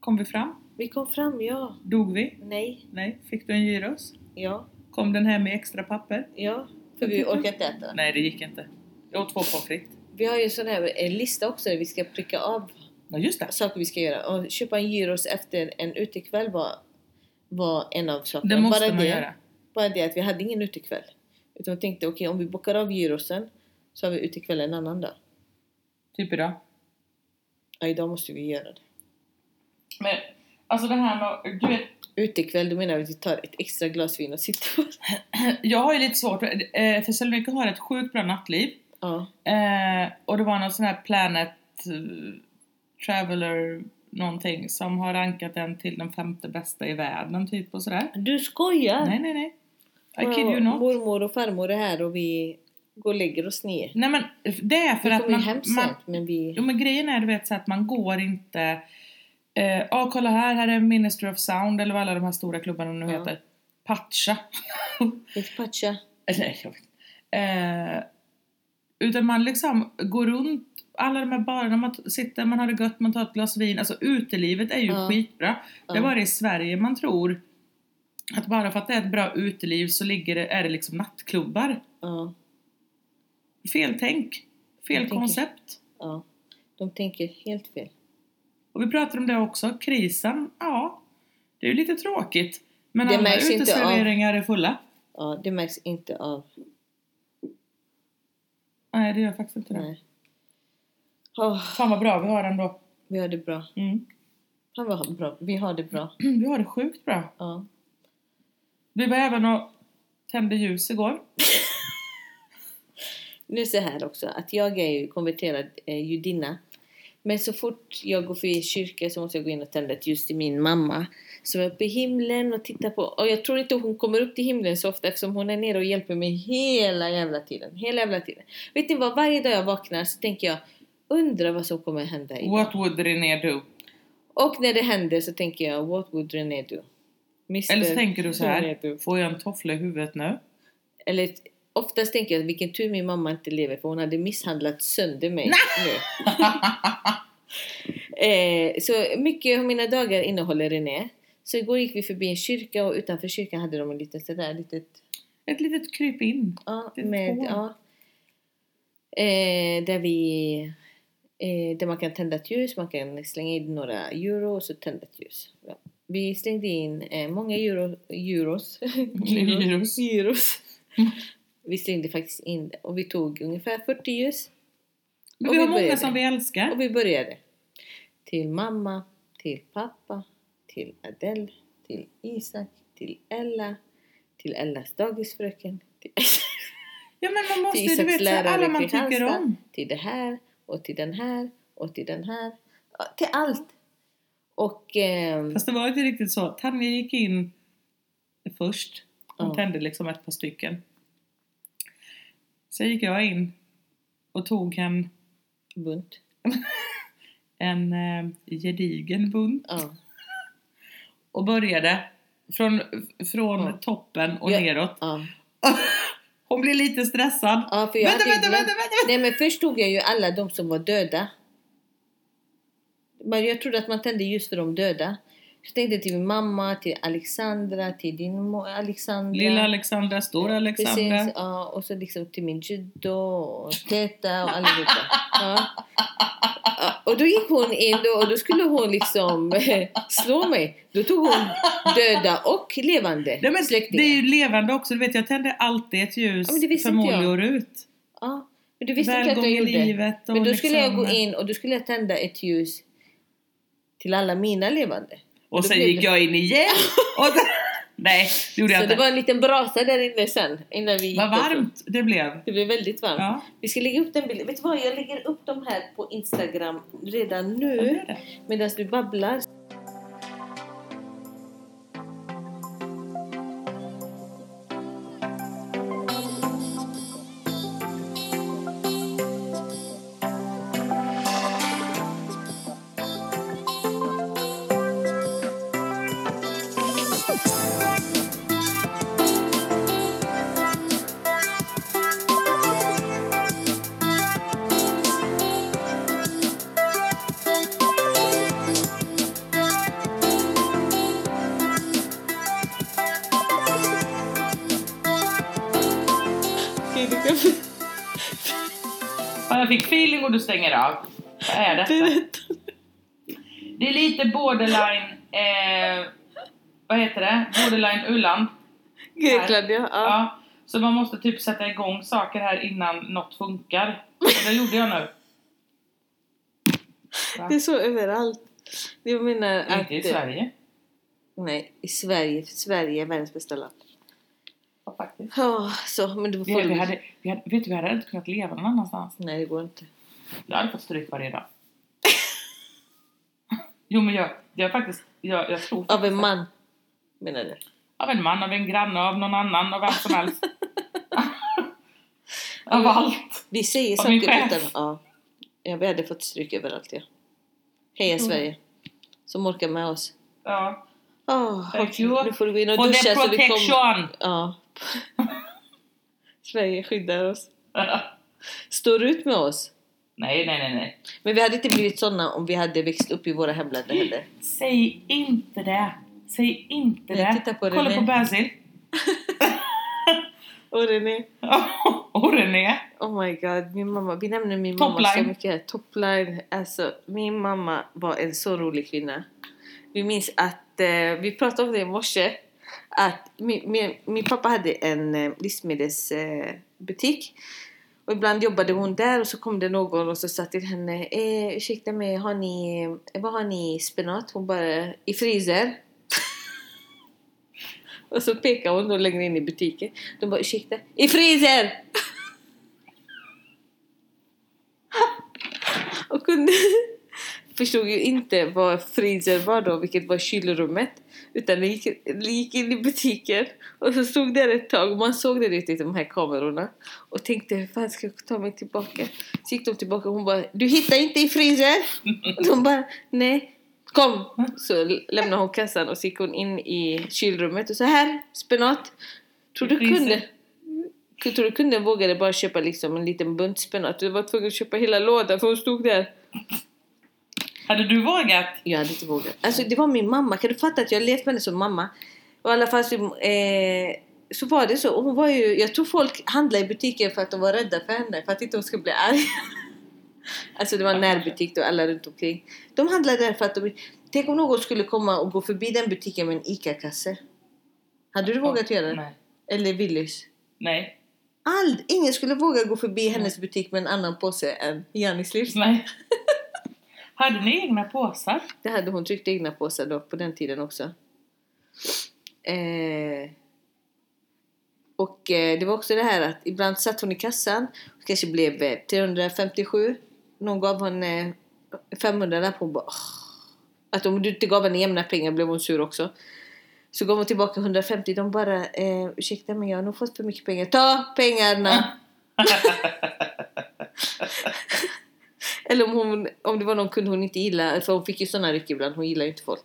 S2: Kom vi fram?
S1: Vi kom fram, ja.
S2: Dog vi?
S1: Nej,
S2: Nej. Fick du en gyros?
S1: ja,
S2: Kom den här med extra papper?
S1: ja. För vi orkar inte äta.
S2: Nej det gick inte. Jag åt två pommes frites.
S1: Vi har ju en sån här eh, lista också där vi ska pricka av
S2: Ja just det.
S1: saker vi ska göra. Och köpa en gyros efter en utekväll var, var en av sakerna.
S2: Det måste
S1: bara
S2: man
S1: det,
S2: göra.
S1: Bara det att vi hade ingen utekväll. Utan vi tänkte okej, om vi bockar av gyrosen så har vi utekväll en annan dag.
S2: Typ idag.
S1: Ja, idag måste vi göra det.
S2: Men alltså det här med, du vet,
S1: Utekväll, då menar vi att vi tar ett extra glas vin och sitter och...
S2: jag har ju lite svårt, eh, för Salonika har ett sjukt bra nattliv.
S1: Ja.
S2: Eh, och det var någon sån här Planet eh, Traveler någonting som har rankat den till den femte bästa i världen typ och sådär.
S1: Du skojar?
S2: Nej, nej, nej. I kid you not.
S1: Mormor och farmor är här och vi går och lägger oss ner.
S2: Nej men det är för
S1: vi
S2: att
S1: kommer
S2: man...
S1: ju hem
S2: man
S1: sent, men vi...
S2: jo men grejen är du vet så att man går inte... Ja eh, ah, kolla här, här är Ministry of Sound eller vad alla de här stora klubbarna nu
S1: Ja.
S2: heter. Pacha.
S1: Inte patcha.
S2: Nej, jag vet inte. Eh, utan man liksom går runt alla de här barerna, man t- sitter, man har det gött, man tar ett glas vin. Alltså utelivet är ju
S1: Ja.
S2: skitbra. Det
S1: Ja.
S2: är bara i Sverige man tror att bara för att det är ett bra uteliv så ligger det, är det liksom nattklubbar.
S1: Ja,
S2: Fel tänk.
S1: Jag
S2: Fel
S1: tänker-
S2: koncept.
S1: ja. De tänker helt fel.
S2: Och vi pratar om det också, krisen. Ja, det är ju lite tråkigt. Men
S1: Det
S2: alla
S1: märks inte av-
S2: uteserveringar är fulla.
S1: Ja, det märks inte av.
S2: Nej, det gör faktiskt inte det.
S1: Nej. Åh,
S2: Fan vad bra vi har ändå.
S1: vi har det bra.
S2: Mm.
S1: Fan vad bra. Vi har det bra.
S2: Vi har det sjukt bra.
S1: Ja.
S2: Vi var även och tände ljus igår.
S1: Nu är det så här också, att jag är ju konverterad eh, judinna. Men så fort jag går förbi kyrkan så måste jag gå in och tända ett ljus till min mamma. Som är uppe i himlen och tittar på. Och jag tror inte hon kommer upp till himlen så ofta eftersom hon är nere och hjälper mig hela jävla tiden. Hela jävla tiden. Vet ni vad? Varje dag jag vaknar så tänker jag undrar vad som kommer hända idag.
S2: What would René do?
S1: Och när det händer så tänker jag what would René do? Mr.
S2: Eller så tänker du så
S1: René do.
S2: här, får jag en toffla i huvudet nu?
S1: Eller oftast tänker jag vilken tur min mamma inte lever för hon hade misshandlat sönder mig nu. eh, så mycket av mina dagar innehåller René. Så igår gick vi förbi en kyrka och utanför kyrkan hade de en liten sådär litet,
S2: Ett litet kryp in.
S1: ja,
S2: Litet
S1: med,
S2: hål.
S1: ja. Eh, där vi, eh, där man kan tända ett ljus, man kan slänga in några euro och så tända ett ljus. Ja. Vi slängde in eh, många euro, euros.
S2: Euros.
S1: euros.
S2: Mm.
S1: Vi slängde faktiskt in det och vi tog ungefär 40 ljus.
S2: Men
S1: Och
S2: vi
S1: vi
S2: har många
S1: började.
S2: som vi älskar.
S1: Och vi började. Till mamma, till pappa, till Adele, till Isak, till Ella, till Ellas dagisfröken, till,
S2: Ja men man måste,
S1: till
S2: du
S1: Isaks
S2: vet, så här,
S1: lärare
S2: alla
S1: i
S2: man tycker
S1: Kristianstad,
S2: om.
S1: till det här och till den här och till den här. Ja, Till allt! Och... ehm,
S2: Fast det var inte riktigt så. Tanja gick in först. Hon
S1: Ja.
S2: tände liksom ett par stycken. Sen gick jag in och tog en,
S1: bunt.
S2: en eh, gedigen bunt
S1: Ja.
S2: och började från, från
S1: Ja.
S2: toppen och
S1: Ja.
S2: neråt.
S1: ja.
S2: Hon blir lite stressad.
S1: ja för jag
S2: vänta,
S1: hade
S2: vänta,
S1: glömt-
S2: vänta, vänta!
S1: Nej men först tog jag ju alla de som var döda. Men jag trodde att man tände ljus för de döda. Så tänkte jag till min mamma, till Alexandra, till din mo- Alexandra.
S2: Lilla Alexandra, stora Alexandra.
S1: Precis, ja, och så liksom till min juddo och Teta och allihopa. Ja. Ja, Och då gick hon in då, och då skulle hon liksom slå mig. Då tog hon döda och levande
S2: Nej, men det
S1: släktingar.
S2: är ju levande också. Du vet, jag tände alltid ett ljus
S1: Ja, men det visste
S2: för
S1: inte
S2: Molly
S1: jag.
S2: och Rut.
S1: Ja, men du visste inte att
S2: Välgång
S1: jag
S2: i
S1: gjorde.
S2: livet. Och
S1: Men då skulle jag
S2: liksom-
S1: gå in och då skulle jag tända ett ljus till alla mina levande.
S2: Och sen
S1: blev
S2: gick
S1: det-
S2: jag in igen. Och sen... Nej, det gjorde jag
S1: Så det
S2: inte.
S1: var en liten brasa där inne sen innan vi gick
S2: Vad
S1: upp.
S2: varmt det blev.
S1: Det blev väldigt varmt.
S2: Ja,
S1: Vi ska lägga upp den bilden. Vet du vad, jag lägger upp de här på Instagram redan
S2: det
S1: nu
S2: är det.
S1: medan du babblar. Okej, du kan
S2: Ja, jag fick feeling och du stänger av. Vad är detta?
S1: berätta.
S2: Det är lite borderline... Eh, vad heter det? Borderline Uland.
S1: Grekland, ja. ja.
S2: Ja, så man måste typ sätta igång saker här innan något funkar. Och det gjorde jag nu.
S1: Det är så överallt. Jag menar att...
S2: Inte i Sverige.
S1: Nej, i Sverige. För Sverige är världens bästa land.
S2: Ja, faktiskt.
S1: Ja, så. Men det var
S2: Vi, vi,
S1: folk-
S2: hade, vi, hade, vet du, vi hade inte kunnat leva någon annanstans.
S1: Nej, det går inte.
S2: Jag hade fått stryk varje dag. jo men jag, jag faktiskt, jag, jag tror
S1: Av en man, menar du?
S2: Av en man, av en granne, av någon annan, av vem som helst. av allt.
S1: Vi säger
S2: Av min
S1: saker
S2: chef.
S1: utan... Ja. ja, vi hade fått stryk överallt, ja. Heja
S2: Mm.
S1: Sverige. Som orkar med oss.
S2: Ja.
S1: Oh,
S2: Tack, Jo.
S1: nu får du gå in och
S2: For the
S1: duscha så vi kommer...
S2: protection!
S1: Ja. Sverige skyddar oss. Står ut med oss.
S2: nej, nej, nej, nej.
S1: Men vi hade inte blivit såna om vi hade växt upp i våra hemländer heller.
S2: Säg inte det. Säg inte
S1: Nej,
S2: det.
S1: titta på
S2: Kolla
S1: René.
S2: på Basil.
S1: Och René.
S2: Och René.
S1: Oh my god, min mamma. Vi nämner min mamma
S2: Topline.
S1: så mycket. här. Topline. Alltså, min mamma var en så rolig kvinna. Vi minns att, eh, vi pratade om det i morse, att min, min, min pappa hade en eh, livsmedelsbutik. Eh, butik. och ibland jobbade hon där och så kom det någon och så sa till henne eh, Ursäkta mig, har ni, eh, vad har ni i spenat? Hon bara, i fryser. och så pekade hon då längre in i butiken. De bara, ursäkta, i fryser! och kunde förstod ju inte vad freezer var då, vilket var kylrummet. Utan det gick, det gick in i butiken och så stod där ett tag och man såg det ute i de här kamerorna och tänkte hur fan ska jag ta mig tillbaka? Så gick de tillbaka och hon bara du hittar inte i freezer? Och de bara nej. Kom! Så lämnade hon kassan och så gick hon in i kylrummet och så här, spenat. Tror
S2: I
S1: du
S2: freezer.
S1: kunde? Tror du kunden vågade bara köpa liksom en liten bunt spenat? Du var tvungen att köpa hela lådan för hon stod där.
S2: Hade du vågat?
S1: Jag hade inte vågat. Alltså det var min mamma. Kan du fatta att jag levt med henne som mamma? Och i alla fall så, eh, så var det så. Och Hon var ju, jag tror folk handlade i butiken för att de var rädda för henne. För att inte hon skulle bli arg. alltså det var en närbutik då, alla runt omkring. De handlade där för att de... Tänk om någon skulle komma och gå förbi den butiken med en ICA-kasse. Hade du vågat göra det?
S2: Nej.
S1: Eller Willys?
S2: Nej.
S1: Ald, ingen skulle våga gå förbi hennes butik med en annan påse än Jannis livs.
S2: Nej. Hade ni egna påsar?
S1: Det hade hon tryckt egna påsar då, på den tiden också. Eh, och eh, det var också det här att ibland satt hon i kassan, och kanske blev eh, 357. Någon gav hon eh, 500 där hon bara "Åh." Att om du inte gav henne jämna pengar blev hon sur också. Så gav hon tillbaka 150, de bara eh, ursäkta men jag har nog fått för mycket pengar. Ta pengarna! Eller om, hon, om det var någon kund hon inte gillade, för hon fick ju såna ryck ibland, hon gillar ju inte folk.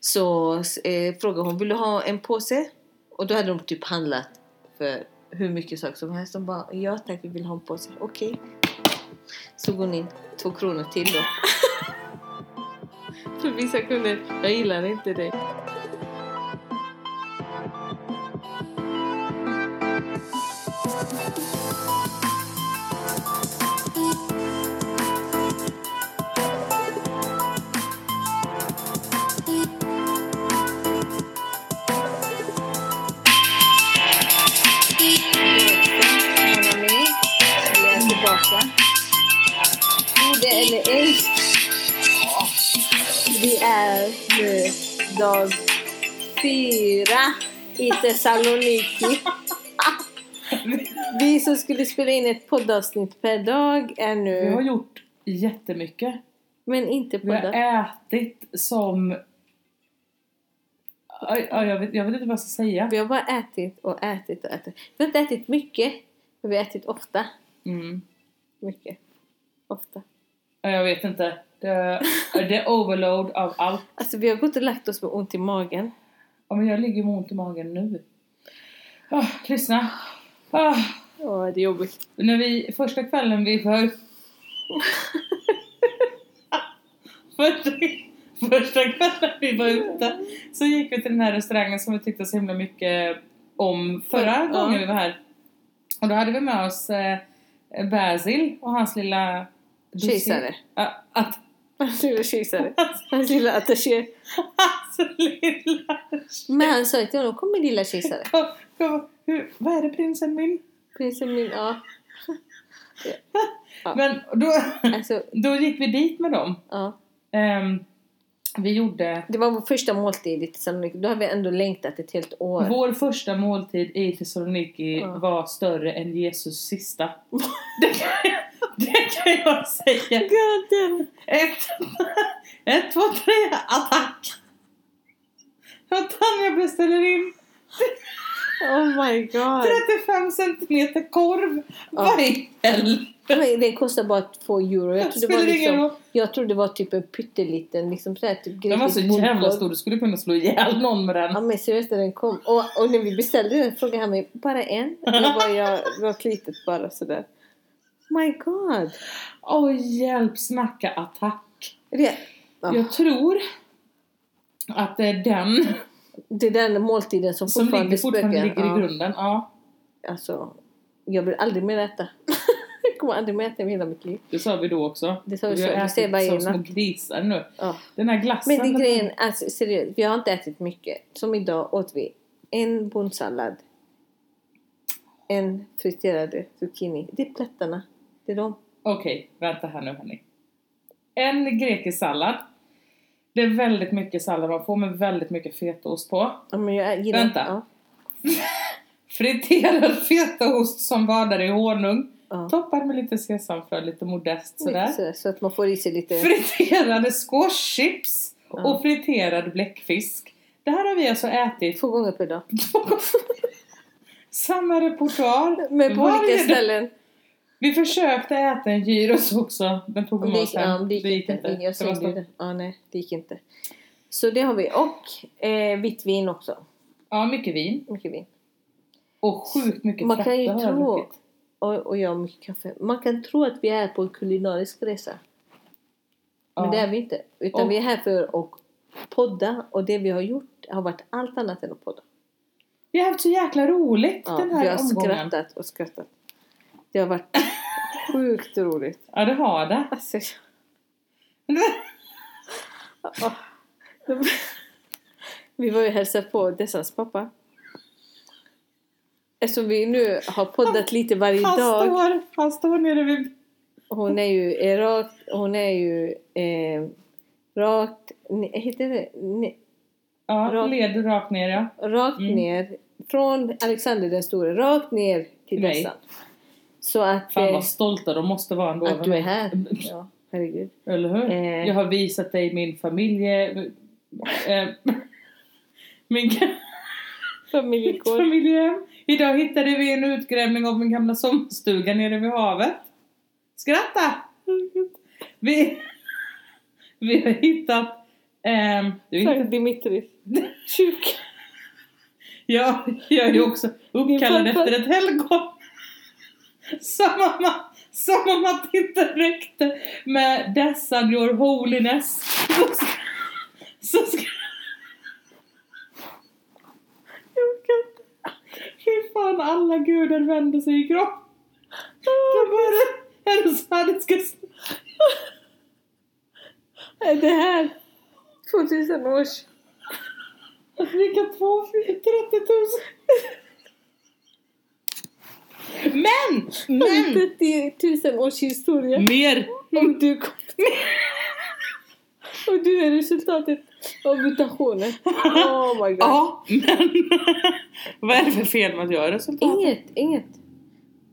S1: Så eh, frågade hon, vill du ha en påse? Och då hade de typ handlat för hur mycket saker som helst. De bara, ja tack vi vill ha en påse. Okej. Så går hon in, två kronor till då. för vissa kunder, jag gillar inte det. Gode eller ej. Vi är nu dag fyra i Thessaloniki. Vi som skulle spela in ett poddavsnitt per dag är
S2: Vi har
S1: nu,
S2: gjort jättemycket.
S1: men inte
S2: Vi har
S1: poddar.
S2: ätit som... Aj, aj, jag, vet, jag vet inte vad jag ska säga.
S1: Vi har bara ätit och ätit och ätit. Vi har inte ätit mycket, men vi har ätit ofta.
S2: Mm.
S1: Mycket. Ofta.
S2: Ja, Jag vet inte. Det, det är overload av allt.
S1: Alltså vi har gått och lagt oss med ont i magen.
S2: Ja, men jag ligger med ont i magen nu. Ah, lyssna. Ah,
S1: Åh, det är jobbigt.
S2: när vi, första kvällen vi för... första, första kvällen vi var ute så gick vi till den här restaurangen som vi tyckte så himla mycket om förra
S1: Ja.
S2: gången vi var här. Och då hade vi med oss eh, Basil och hans lilla...
S1: Kejsare.
S2: Ja, att,
S1: Hans lilla kejsare.
S2: hans,
S1: Hans lilla attaché.
S2: hans lilla...
S1: Men han sa till honom, kom min lilla kejsare.
S2: Kom, kom, hur, vad är det prinsen min?
S1: Prinsen min, ja. Ja.
S2: Men då...
S1: Alltså,
S2: Då gick vi dit med dem.
S1: ja.
S2: Ehm, Vi gjorde
S1: Det var vår första måltid i Thessaloniki. Då har vi ändå längtat ett helt år.
S2: Vår första måltid i Thessaloniki
S1: Ja.
S2: var större än Jesus sista. det, kan jag, det kan jag säga.
S1: God damn.
S2: Ett, ett två, tre, attack! Och Tanja beställer in
S1: Oh my god.
S2: 35 centimeter korv.
S1: Ja.
S2: Vad i helvete?
S1: Men det kostar bara 2 euro. Jag trodde, det var
S2: Spelar ingen
S1: liksom,
S2: roll.
S1: jag trodde det var typ en pytteliten liksom så här, typ
S2: Den var
S1: grekisk
S2: så jävla
S1: bondkorv.
S2: stor, du skulle kunna slå ihjäl någon med den.
S1: Ja men seriöst när den kom. Och, och när vi beställde den frågade han mig bara en. Jag bara, jag, det var ett litet bara sådär. My god.
S2: Åh hjälp, snacka attack.
S1: Det, ja,
S2: Jag tror att det är den
S1: det är den måltiden som
S2: som
S1: fortfarande,
S2: ligger, fortfarande
S1: spökar.
S2: ligger i
S1: Ja.
S2: grunden. Ja.
S1: Alltså, jag vill aldrig mer äta. jag kommer aldrig mer äta i hela mitt liv.
S2: Det sa vi då också.
S1: Det sa vi
S2: vi
S1: så.
S2: har
S1: Vi
S2: ätit
S1: ser bara
S2: som
S1: innan.
S2: små grisar nu.
S1: Ja.
S2: Den här glassen.
S1: Men det är grejen, alltså seriöst, vi har inte ätit mycket. Som idag åt vi en bondsallad, en friterade zucchini. Det är plättarna, det är de.
S2: Okej, vänta här nu hörni. En grekisk sallad. Det är väldigt mycket sallad man får med väldigt mycket fetaost på.
S1: Ja, men jag gillar
S2: Vänta.
S1: Ja,
S2: Friterad fetaost som badar i honung.
S1: ja.
S2: Toppad med lite sesamfrö, lite modest sådär.
S1: Lite sådär, så att man får i sig lite...
S2: Friterade squashchips
S1: Ja.
S2: och friterad bläckfisk. Det här har vi alltså ätit
S1: Två gånger per dag.
S2: två gånger. Samma repertoar.
S1: Men på
S2: Varje
S1: olika
S2: dag.
S1: ställen.
S2: Vi försökte äta en gyros också. Den tog
S1: Det
S2: vi med
S1: gick,
S2: oss
S1: ja,
S2: hem.
S1: det gick, inte. Jag
S2: Det var
S1: slängde
S2: stopp.
S1: det. Ja, nej, det gick inte. Så det har vi. Och eh, vitt vin också.
S2: Ja, mycket vin.
S1: Mycket vin.
S2: Och sjukt mycket
S1: Man kan ju
S2: frappe har jag
S1: tro-
S2: druckit.
S1: Och, och jag har mycket kaffe. Man kan tro att vi är på en kulinarisk resa. Men
S2: Ja.
S1: det är vi inte. Utan
S2: Och-
S1: vi är här för att podda. Och det vi har gjort har varit allt annat än att podda.
S2: Vi har haft så jäkla roligt
S1: Ja,
S2: den
S1: vi har
S2: här omgången.
S1: skrattat och skrattat. Det har varit sjukt roligt.
S2: Ja, det har det.
S1: Alltså, jag- Ja. Vi var ju och hälsade på Dessans pappa. Eftersom vi nu har poddat lite varje
S2: Han
S1: dag.
S2: står, han står nere vid...
S1: Hon är ju är rakt, hon är ju eh, rakt, ne- heter det, ne,
S2: Ja,
S1: Rakt-
S2: led rakt ner ja.
S1: rakt
S2: Mm.
S1: ner. Från Alexander den store, rakt ner till
S2: Nej.
S1: Dessan. Så att,
S2: Fan
S1: eh,
S2: vad stolta de måste vara ändå
S1: att
S2: över
S1: du är
S2: mig.
S1: här. Ja, herregud.
S2: Eller hur?
S1: Eh.
S2: Jag har visat dig min familj... eh, min gamla... Mitt
S1: Familjegård.
S2: familjehem. Idag hittade vi en utgrävning av min gamla sommarstuga nere vid havet. Skratta! Vi, vi har hittat... ehm, vi har hittat
S1: Sankt Dimitris. Kyrka.
S2: ja, jag är ju också uppkallad
S1: Min pappa.
S2: efter ett helgon. Som om, man- som om att det inte räckte med dessa your holiness. Så ska, så ska, jag kan inte. Hur fan alla gudar vänder sig i kropp. De bara... Eller så här det ska...
S1: Är det här 2000 års...
S2: Dricka två, 30 000. Men! Mm. Men!
S1: 30 000 års historia.
S2: Mer!
S1: Om du kom Och du är resultatet av mutationen. Oh my god.
S2: Ja, men... Vad är det för fel med att jag är resultat?
S1: Inget, inget.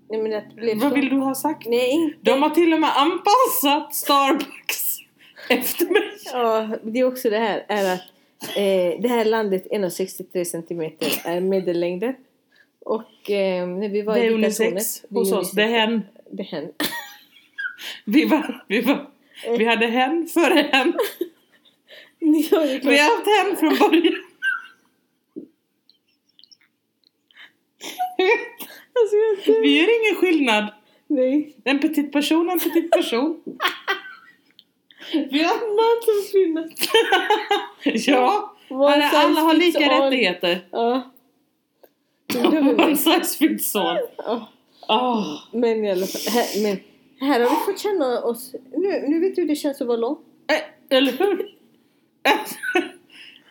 S1: Nej men att det blev
S2: Vad
S1: så.
S2: vill du ha sagt?
S1: Nej, inget.
S2: De har till och med anpassat Starbucks efter mig.
S1: Ja, det är också det här är att eh, det här landet 1,63 centimeter är medellängden. Och eh, när vi var
S2: Det är
S1: i diktatornet-
S2: unisex
S1: Det är
S2: hos oss. Det är
S1: unisex.
S2: hen.
S1: Det är hen.
S2: Vi var... Vi var... Vi hade hen före hen.
S1: Ni har ju
S2: Vi
S1: klart-
S2: har haft hen från början.
S1: Alltså, jag dör.
S2: Vi gör ingen skillnad.
S1: Nej.
S2: En petit person, en petit person. Vi har
S1: Man som kvinna.
S2: Ja,
S1: One
S2: alla, alla har
S1: size
S2: lika
S1: fits all.
S2: rättigheter.
S1: Ja. Jo, det var
S2: One
S1: det.
S2: size fits all. Ah.
S1: Ja.
S2: Åh,
S1: Men i alla fall. Här, men, här har vi fått känna oss. Nu, nu vet du hur det känns att vara lång.
S2: eh, Eller hur?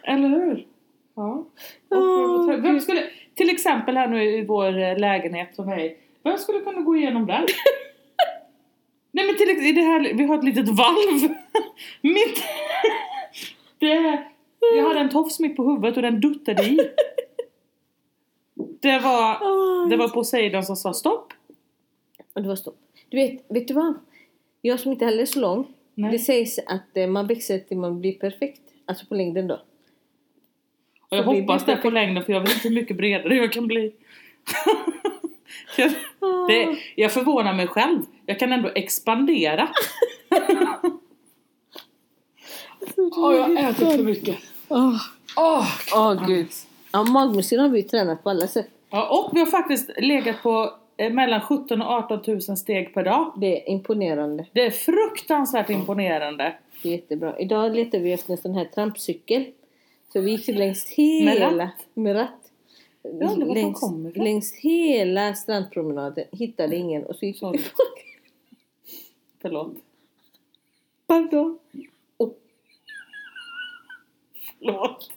S2: Eller hur? Ja.
S1: Åh,
S2: Vem skulle, till exempel här nu i vår eh, lägenhet som är i- Vem skulle kunna gå igenom där? Nej men till, ex- i det här, vi har ett litet valv. Mitt, Det, jag hade en tofs mitt på huvudet och den duttade i. Det var,
S1: Åh,
S2: det var Poseidon som sa stopp.
S1: Och det var stopp. Du vet, vet du vad? Jag som inte heller är så lång.
S2: Nej.
S1: Det sägs att eh, man växer till man blir perfekt. Alltså på längden då.
S2: Och jag
S1: Så blir
S2: hoppas
S1: det
S2: det på längden för jag vet inte hur mycket bredare jag kan bli. jag, det, jag förvånar mig själv. Jag kan ändå expandera. Åh, jag har typ- ätit för mycket.
S1: Åh,
S2: Åh!
S1: åh, gud. Ja, magmusklerna har vi ju tränat på alla sätt.
S2: Ja, och vi har faktiskt legat på eh, mellan 17 och 18 000 steg per dag.
S1: Det är imponerande.
S2: Det är fruktansvärt imponerande.
S1: Det är jättebra. Idag letar vi efter en sån här trampcykel. Så vi gick längs hela...
S2: Med ratt?
S1: Med ratt.
S2: undrar var de
S1: längs,
S2: kommer ifrån.
S1: längs hela strandpromenaden. Hittade ingen och så gick
S2: Sorry.
S1: vi tillbaka.
S2: Förlåt.
S1: Pardon. Och
S2: Förlåt.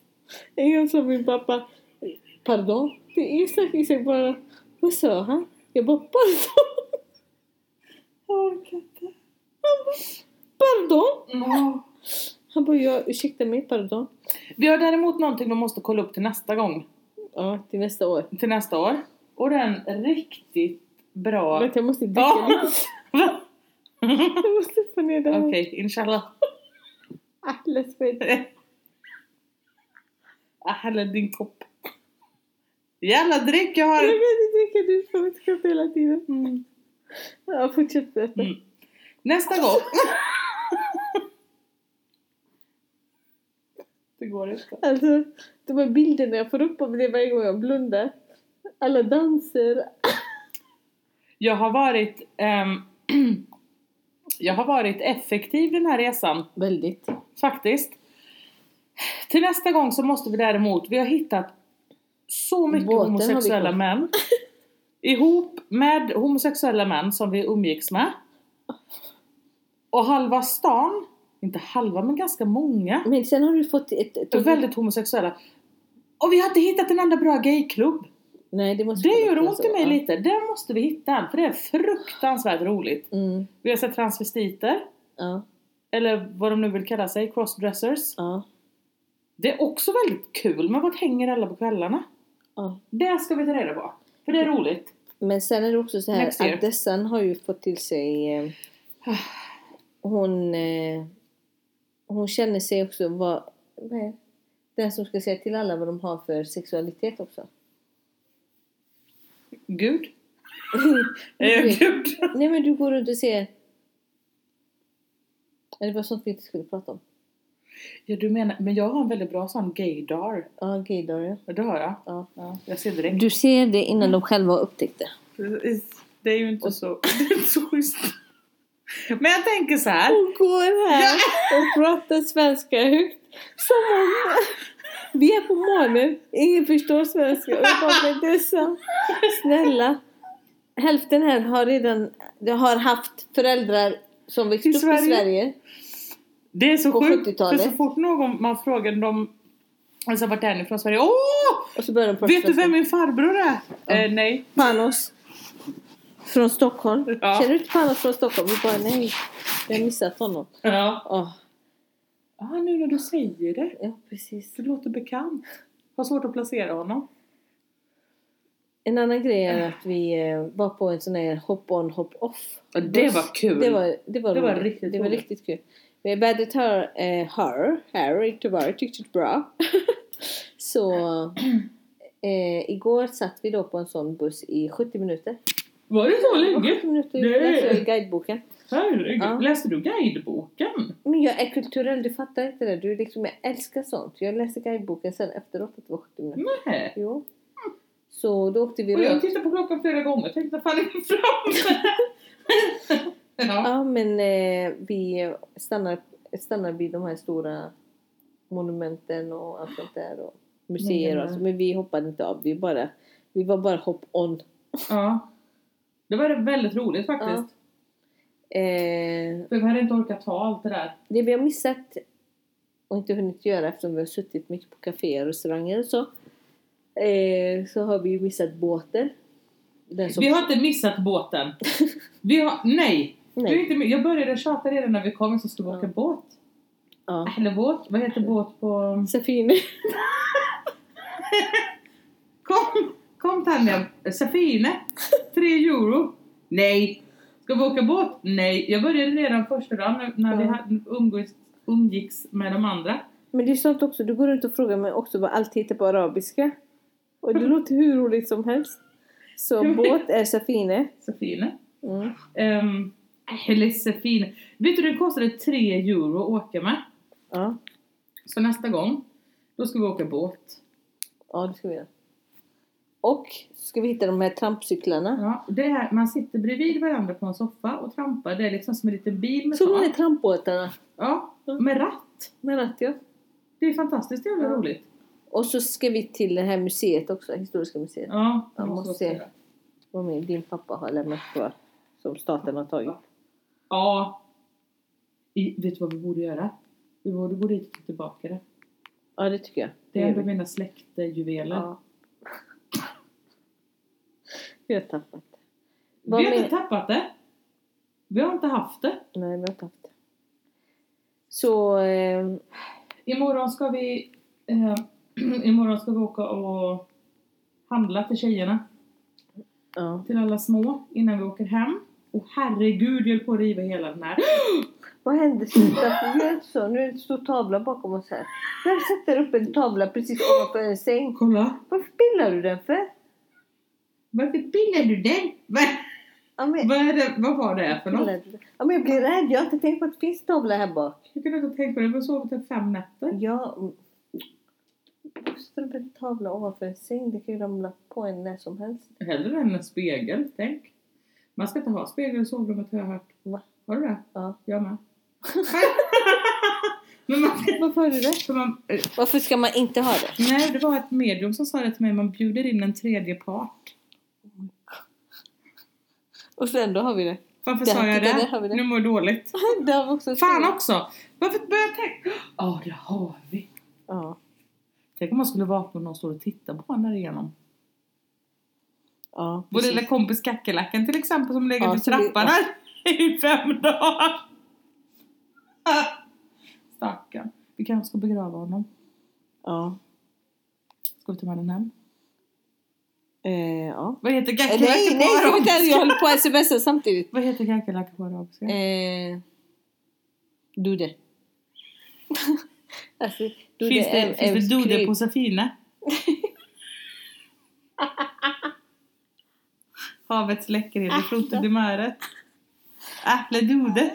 S1: en gång sa min pappa Pardon? Det är Isak, Isak bara Vad sa han? Jag bara pardon.
S2: Jag orkar inte.
S1: Pardon?
S2: Åh.
S1: Han bara ja, ursäkta mig pardon.
S2: Mm. Vi har däremot någonting vi måste kolla upp till nästa gång.
S1: Ja, till nästa år.
S2: Till nästa år. Och den riktigt bra...
S1: Vänta jag måste dricka
S2: Ja.
S1: lite. Jag måste få ner det här. Ah,
S2: Okej, inshallah.
S1: Alles skit.
S2: Jag Ah, häller din kopp. Jävla dryck jag
S1: Jag
S2: har!
S1: kan inte dricka du får ett skratt hela tiden.
S2: Mm.
S1: Ja, fortsätt berätta.
S2: Mm. Nästa gång. Det går inte.
S1: Alltså, de här bilderna jag får upp av det varje gång jag blundar. Alla danser.
S2: Jag har varit... ehm, jag har varit effektiv den här resan.
S1: Väldigt.
S2: Faktiskt. Till nästa gång så måste vi däremot, vi har hittat så mycket
S1: Båten har vi
S2: homosexuella
S1: kvar.
S2: män. Ihop med homosexuella män som vi umgicks med. Och halva stan, inte halva men ganska många,
S1: Men sen har du fått ett... ett
S2: är väldigt homosexuella. Och vi har inte hittat en enda bra gayklubb.
S1: Nej, det måste
S2: Det
S1: vara
S2: gör
S1: bättre
S2: ont
S1: än
S2: i
S1: så.
S2: mig
S1: Ja.
S2: lite. Det måste vi hitta, för det är fruktansvärt roligt.
S1: Mm,
S2: Vi har sett transvestiter,
S1: ja,
S2: eller vad de nu vill kalla sig, crossdressers.
S1: ja,
S2: Det är också väldigt kul, men vart hänger alla på kvällarna?
S1: ja.
S2: Det ska vi ta reda på, för det är roligt.
S1: Men sen är det också så här
S2: Next year.
S1: att Dessan har ju fått till sig... Eh, hon... Eh, hon känner sig också vad... vad är- Den som ska säga till alla vad de har för sexualitet också.
S2: Gud?
S1: Men du
S2: Eh,
S1: vet-
S2: gud!
S1: Nej men du går runt och ser... Ja, Det var sånt vi inte skulle prata om.
S2: Ja, du menar, men jag har en väldigt bra sån gaydar.
S1: Ja, gaydar ja.
S2: Ja, Det har jag.
S1: Ja.
S2: Ja, jag ser direkt.
S1: Du ser det innan de själva har upptäckt det.
S2: Precis. Det är ju inte så, det är inte så schysst. Men jag tänker så här.
S1: Hon går här och pratar svenska högt. Som om vi är på månen. Ingen förstår svenska. Och jag bara, men dessa, snälla. Hälften här har redan har haft föräldrar som växt
S2: I
S1: upp i
S2: Sverige.
S1: Sverige.
S2: Det är så
S1: På
S2: sjukt, för
S1: 70-talet.
S2: så fort någon man frågar dem Alltså vart är ni från Sverige? Åh!
S1: Och så börjar de prata
S2: Vet du
S1: svenska.
S2: vem min farbror är? Eh, nej.
S1: Panos från Stockholm.
S2: Ja.
S1: Känner du inte Panos från Stockholm? Vi bara, nej. Vi har missat honom.
S2: Ja.
S1: Ja,
S2: Ah, nu när du säger det.
S1: ja, precis.
S2: Det låter bekant. Har svårt att placera honom.
S1: En annan grej är att vi eh, var på en sån här hop-on hop-off.
S2: Ja, det
S1: buss.
S2: var kul.
S1: Det var, det var,
S2: Det var
S1: roligt.
S2: riktigt
S1: det var
S2: roligt.
S1: riktigt kul. Vi bad it her, eh, her, her, inte bara, tyckte det bra. Så eh, igår satt vi då på en sån buss i 70 minuter.
S2: Var det så länge?
S1: 70 minuter
S2: Nej.
S1: läser jag i guideboken.
S2: Herregud.
S1: Ja.
S2: Läste du guideboken?
S1: Men jag är kulturell, du fattar inte det. Du liksom, jag älskar sånt. Jag läser guideboken sen efteråt att det var 70 minuter.
S2: Nej.
S1: Jo. Så då åkte vi
S2: Mm. Och jag
S1: runt.
S2: tittade på klockan flera gånger tänkte fan är vi framme? ja.
S1: Ja, men eh, vi stannar, stannar vid de här stora monumenten och allt sånt där och museer och allt. Men vi hoppade inte av. Vi, bara, vi var bara hopp-on.
S2: ja. Det var väldigt roligt faktiskt.
S1: Ja. Eh,
S2: För vi hade inte orkat ta allt det där.
S1: det vi har missat och inte hunnit göra eftersom vi har suttit mycket på kaféer och restauranger och så. Eh, så har vi ju missat båten. Den som,
S2: Vi har inte missat båten. Vi har, nej. Vi har
S1: nej, Mm.
S2: inte, jag började tjata redan när vi kom så skulle vi
S1: Ja.
S2: åka båt.
S1: Ja.
S2: Eller båt? Vad heter båt på...
S1: Safine.
S2: Kom! Kom Tanja! Safine! 3 euro! Nej! Ska vi åka båt? Nej! Jag började redan första dagen när- när vi
S1: Ja.
S2: hade- umgås, umgicks med de andra.
S1: Men det är sånt också, du går runt och frågar mig också vad allt heter på arabiska. Och det låter hur roligt som helst. Så båt är Safine.
S2: Safine.
S1: Mm.
S2: Um, eller Safine. Vet du, den kostade 3 euro att åka med.
S1: Ja.
S2: Så nästa gång, då ska vi åka båt.
S1: ja, det ska vi göra. Och ska vi hitta de här trampcyklarna.
S2: Ja, det här, man sitter bredvid varandra på en soffa och trampar. Det är liksom som en liten bil med
S1: Som de här
S2: fart.
S1: trampbåtarna.
S2: Ja, med ratt.
S1: Men att jag.
S2: Det är fantastiskt jävla
S1: Ja.
S2: roligt.
S1: Och så ska vi till det här museet också, Historiska museet.
S2: Ja,
S1: Jag
S2: det
S1: måste
S2: också
S1: se.
S2: göra.
S1: Vad min, din pappa har lämnat kvar. Som staten har tagit.
S2: Ja. I, vet du vad vi borde göra? Vi borde gå dit och ta tillbaka det.
S1: Ja, det tycker jag.
S2: Det är
S1: gör
S2: ändå
S1: vi.
S2: mina släktjuveler.
S1: Ja. Vi har tappat det.
S2: Vi
S1: Vad
S2: har
S1: men-
S2: inte tappat det. Vi har inte haft det.
S1: Nej, vi har tappat det. Så... Eh,
S2: Imorgon ska vi... Eh, imorgon ska vi åka och handla till tjejerna.
S1: ja.
S2: Till alla små innan vi åker hem. Och herregud, jag höll på att riva hela den här.
S1: Vad hände? Sluta! Vi gör inte så. Nu är det en stor tavla bakom oss här. Vem sätter upp en tavla precis ovanför en säng?
S2: Kolla!
S1: Varför pillar du den för?
S2: Varför pillar du den? Vad,
S1: Ja, men,
S2: vad, är det, vad var det för något?
S1: pillar du den? ja, men jag blir rädd. Jag har inte tänkt på att det finns tavla här bak.
S2: Jag kunde inte tänka på det. Jag har sovit här fem nätter.
S1: Ja... mm. Sätter upp en tavla ovanför en säng. Det kan ju ramla på en när som helst.
S2: Hellre än en spegel, tänk. Man ska inte ha spegel i sovrummet har jag hört.
S1: Va?
S2: Har du det?
S1: Ja.
S2: Jag med. Men man,
S1: Varför har du det?
S2: för man, eh,
S1: Varför ska man inte ha det?
S2: nej, det var ett medium som sa det till mig. Man bjuder in en tredje part.
S1: Och sen då har vi det.
S2: Varför
S1: Det
S2: sa
S1: här
S2: jag
S1: tycker
S2: det?
S1: jag, det har vi det.
S2: Nu mår jag dåligt.
S1: Det har vi också
S2: Fan också! Varför började jag tänka? Ja, det har vi.
S1: Ja.
S2: Tänk om man skulle vakna och någon står och tittar på en där igenom.
S1: Ja,
S2: Vår
S1: precis.
S2: lilla kompis Kackerlackan till exempel som legat
S1: Ja,
S2: i
S1: så det-
S2: trappan här i fem dagar. Stackarn. Vi kanske ska begrava honom.
S1: Ja.
S2: Ska vi ta med den hem?
S1: Eh, ja.
S2: Vad heter
S1: Nej,
S2: kackerlacka
S1: nej,
S2: på arabiska?
S1: vänta, jag håller på att smsa samtidigt.
S2: Vad heter kackerlacka på arabiska?
S1: Eh, dude. alltså, dude
S2: finns det,
S1: är- är
S2: finns det dude
S1: skryt.
S2: på Safine? Havets läckerhet och frotten i möret. Äpple dude.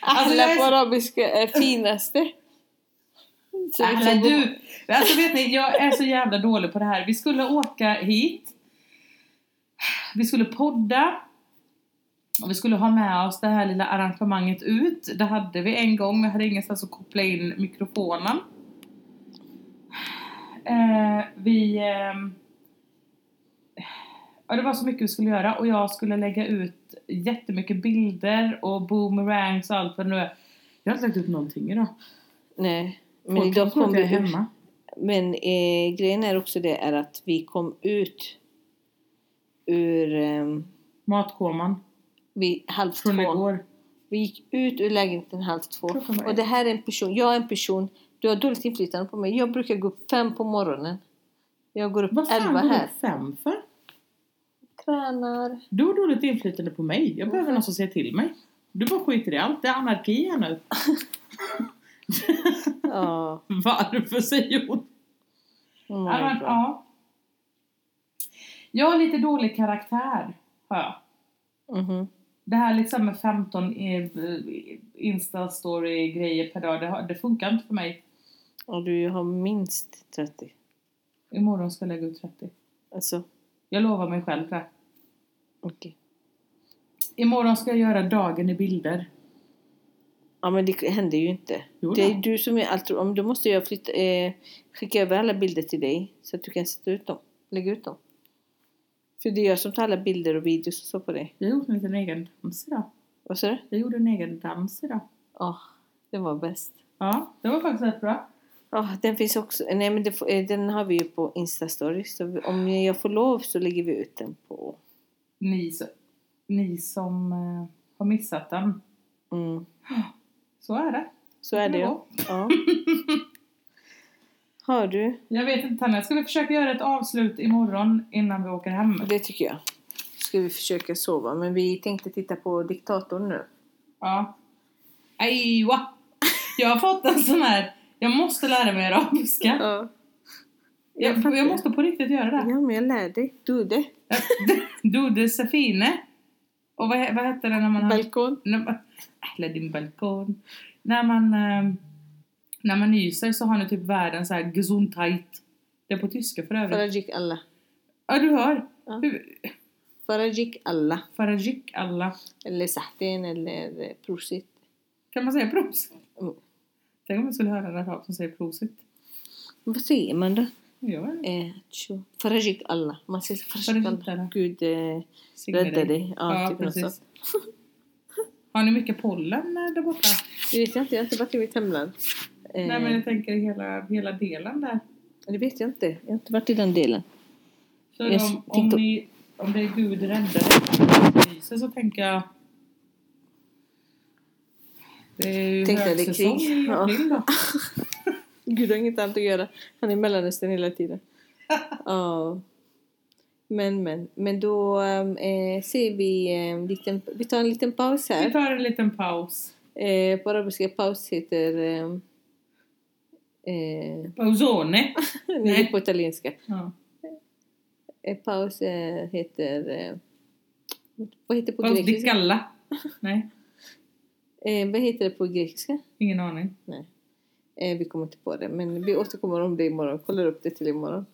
S2: Alltså,
S1: Alla
S2: jag är
S1: på
S2: så-
S1: arabiska är finaste. Så vi
S2: Alla
S1: får gå-
S2: Äh, du! Alltså vet ni, jag är så jävla dålig på det här. Vi skulle åka hit. Vi skulle podda. Och vi skulle ha med oss det här lilla arrangemanget ut. Det hade vi en gång, men jag hade ingenstans att koppla in mikrofonen. Eh, vi... ehm, ja, det var så mycket vi skulle göra och jag skulle lägga ut jättemycket bilder och boomerangs och allt vad det nu är. Jag har inte lagt ut någonting idag.
S1: Nej, men
S2: Folk
S1: idag
S2: tror att
S1: kom
S2: jag
S1: vi
S2: är
S1: ut.
S2: hemma.
S1: Men eh, grejen är också det är att vi kom ut ur ehm,
S2: Matkoman
S1: vid halv
S2: från
S1: två.
S2: igår.
S1: Vi gick ut ur lägenheten halv två.
S2: Klockan var
S1: Och
S2: ett.
S1: det här är en person, jag är en person, du har dåligt inflytande på mig. Jag brukar gå upp fem på morgonen. Jag går upp
S2: Vad fan
S1: elva
S2: går
S1: här.
S2: du fem för?
S1: Tränar.
S2: Du har dåligt inflytande på mig. Jag behöver någon som säger till mig. Du bara skiter i allt. Det är anarki här nu.
S1: Ja.
S2: Varför säger hon?
S1: Oh my
S2: Ja, men,
S1: God.
S2: ja. Jag har lite dålig karaktär, har jag.
S1: Mhm.
S2: Det här liksom med 15 i- Insta-story-grejer per dag, det, har, det funkar inte för mig.
S1: Och du har minst 30.
S2: Imorgon ska jag lägga ut 30.
S1: Alltså,
S2: Jag lovar mig själv det.
S1: okej.
S2: Imorgon ska jag göra dagen i bilder.
S1: Ja men det händer ju inte.
S2: Jo då.
S1: Det är du som är allt. Om då måste jag flytta, eh, skicka över alla bilder till dig så att du kan sätta ut dem. Lägga ut dem. För det är jag som tar alla bilder och videos och så på dig.
S2: Jag gjorde en liten egen dans idag.
S1: Vad sa du?
S2: Jag gjorde en egen dans idag.
S1: Ja, det var bäst.
S2: Ja, det var faktiskt rätt bra.
S1: Ja, den finns också. Nej, men det, får- eh, den har vi ju på Instastory. Så vi- om jag får lov så lägger vi ut den på...
S2: Ni, s- ni som eh, har missat den.
S1: Mm.
S2: Så är det.
S1: Så är det
S2: Ja.
S1: ja. ja. Hör du?
S2: Jag vet inte Tanja, ska vi försöka göra ett avslut imorgon innan vi åker hem?
S1: Det tycker jag. Ska vi försöka sova. Men vi tänkte titta på Diktatorn nu.
S2: Ja. Ajwa! Jag har fått en sån här, jag måste lära mig arabiska.
S1: Ja. Jag
S2: Jag,
S1: fattar.
S2: jag måste på riktigt göra det.
S1: Ja, men jag lär dig. Du det.
S2: Dude Safine. Och vad, he- vad hette det när man... har-
S1: Mm. Balkon.
S2: när man- Eller din balkon. När man... ehm, När man nyser så har ni typ världen så här gesundheit. Det är på tyska för övrigt.
S1: Farajik alla.
S2: Ja, du hör.
S1: Ja.
S2: Hur-
S1: Farajik alla.
S2: Farajik alla.
S1: Eller sahtin eller eh, prosit.
S2: Kan man säga prosit?
S1: Mm.
S2: Tänk om jag skulle höra en arab som säger prosit.
S1: Vad säger man då?
S2: Ja,
S1: Eh, tjo. Farajik alla. Man säger farajik
S2: Farajik alla.
S1: alla. Gud eh,
S2: signe
S1: rädda dig. Ja,
S2: Ja,
S1: typ något sånt.
S2: precis. Har ni mycket pollen eh, där borta?
S1: Det vet jag inte. Jag har inte varit i mitt hemland. Eh,
S2: Nej, men jag tänker hela, hela delen där.
S1: Det vet jag inte. Jag har inte varit i den delen.
S2: Så
S1: Jag
S2: om, om,
S1: tänkte-
S2: ni, om det är Gud räddare lyser så tänker jag... Det är ju
S1: Tänkte jag det är
S2: högsäsong
S1: krig.
S2: i
S1: Ja.
S2: april då.
S1: Gud har inget annat att göra. Han är i Mellanöstern hela tiden. Ja. Men, men. Men då ehm, eh, ser vi eh, en liten... Vi tar en liten paus
S2: Vi
S1: här.
S2: tar en liten paus.
S1: Eh, på arabiska paus heter... ehm, Eh,
S2: Pausone.
S1: nej, på italienska.
S2: Ja.
S1: Eh, paus eh, heter... Eh, vad heter det på
S2: Paus di
S1: grekiska?
S2: galla. Nej,
S1: Eh, vad heter det på grekiska?
S2: ingen aning.
S1: Nej. Eh, vi kommer inte på det. Men vi återkommer om det imorgon. Kollar upp det till imorgon.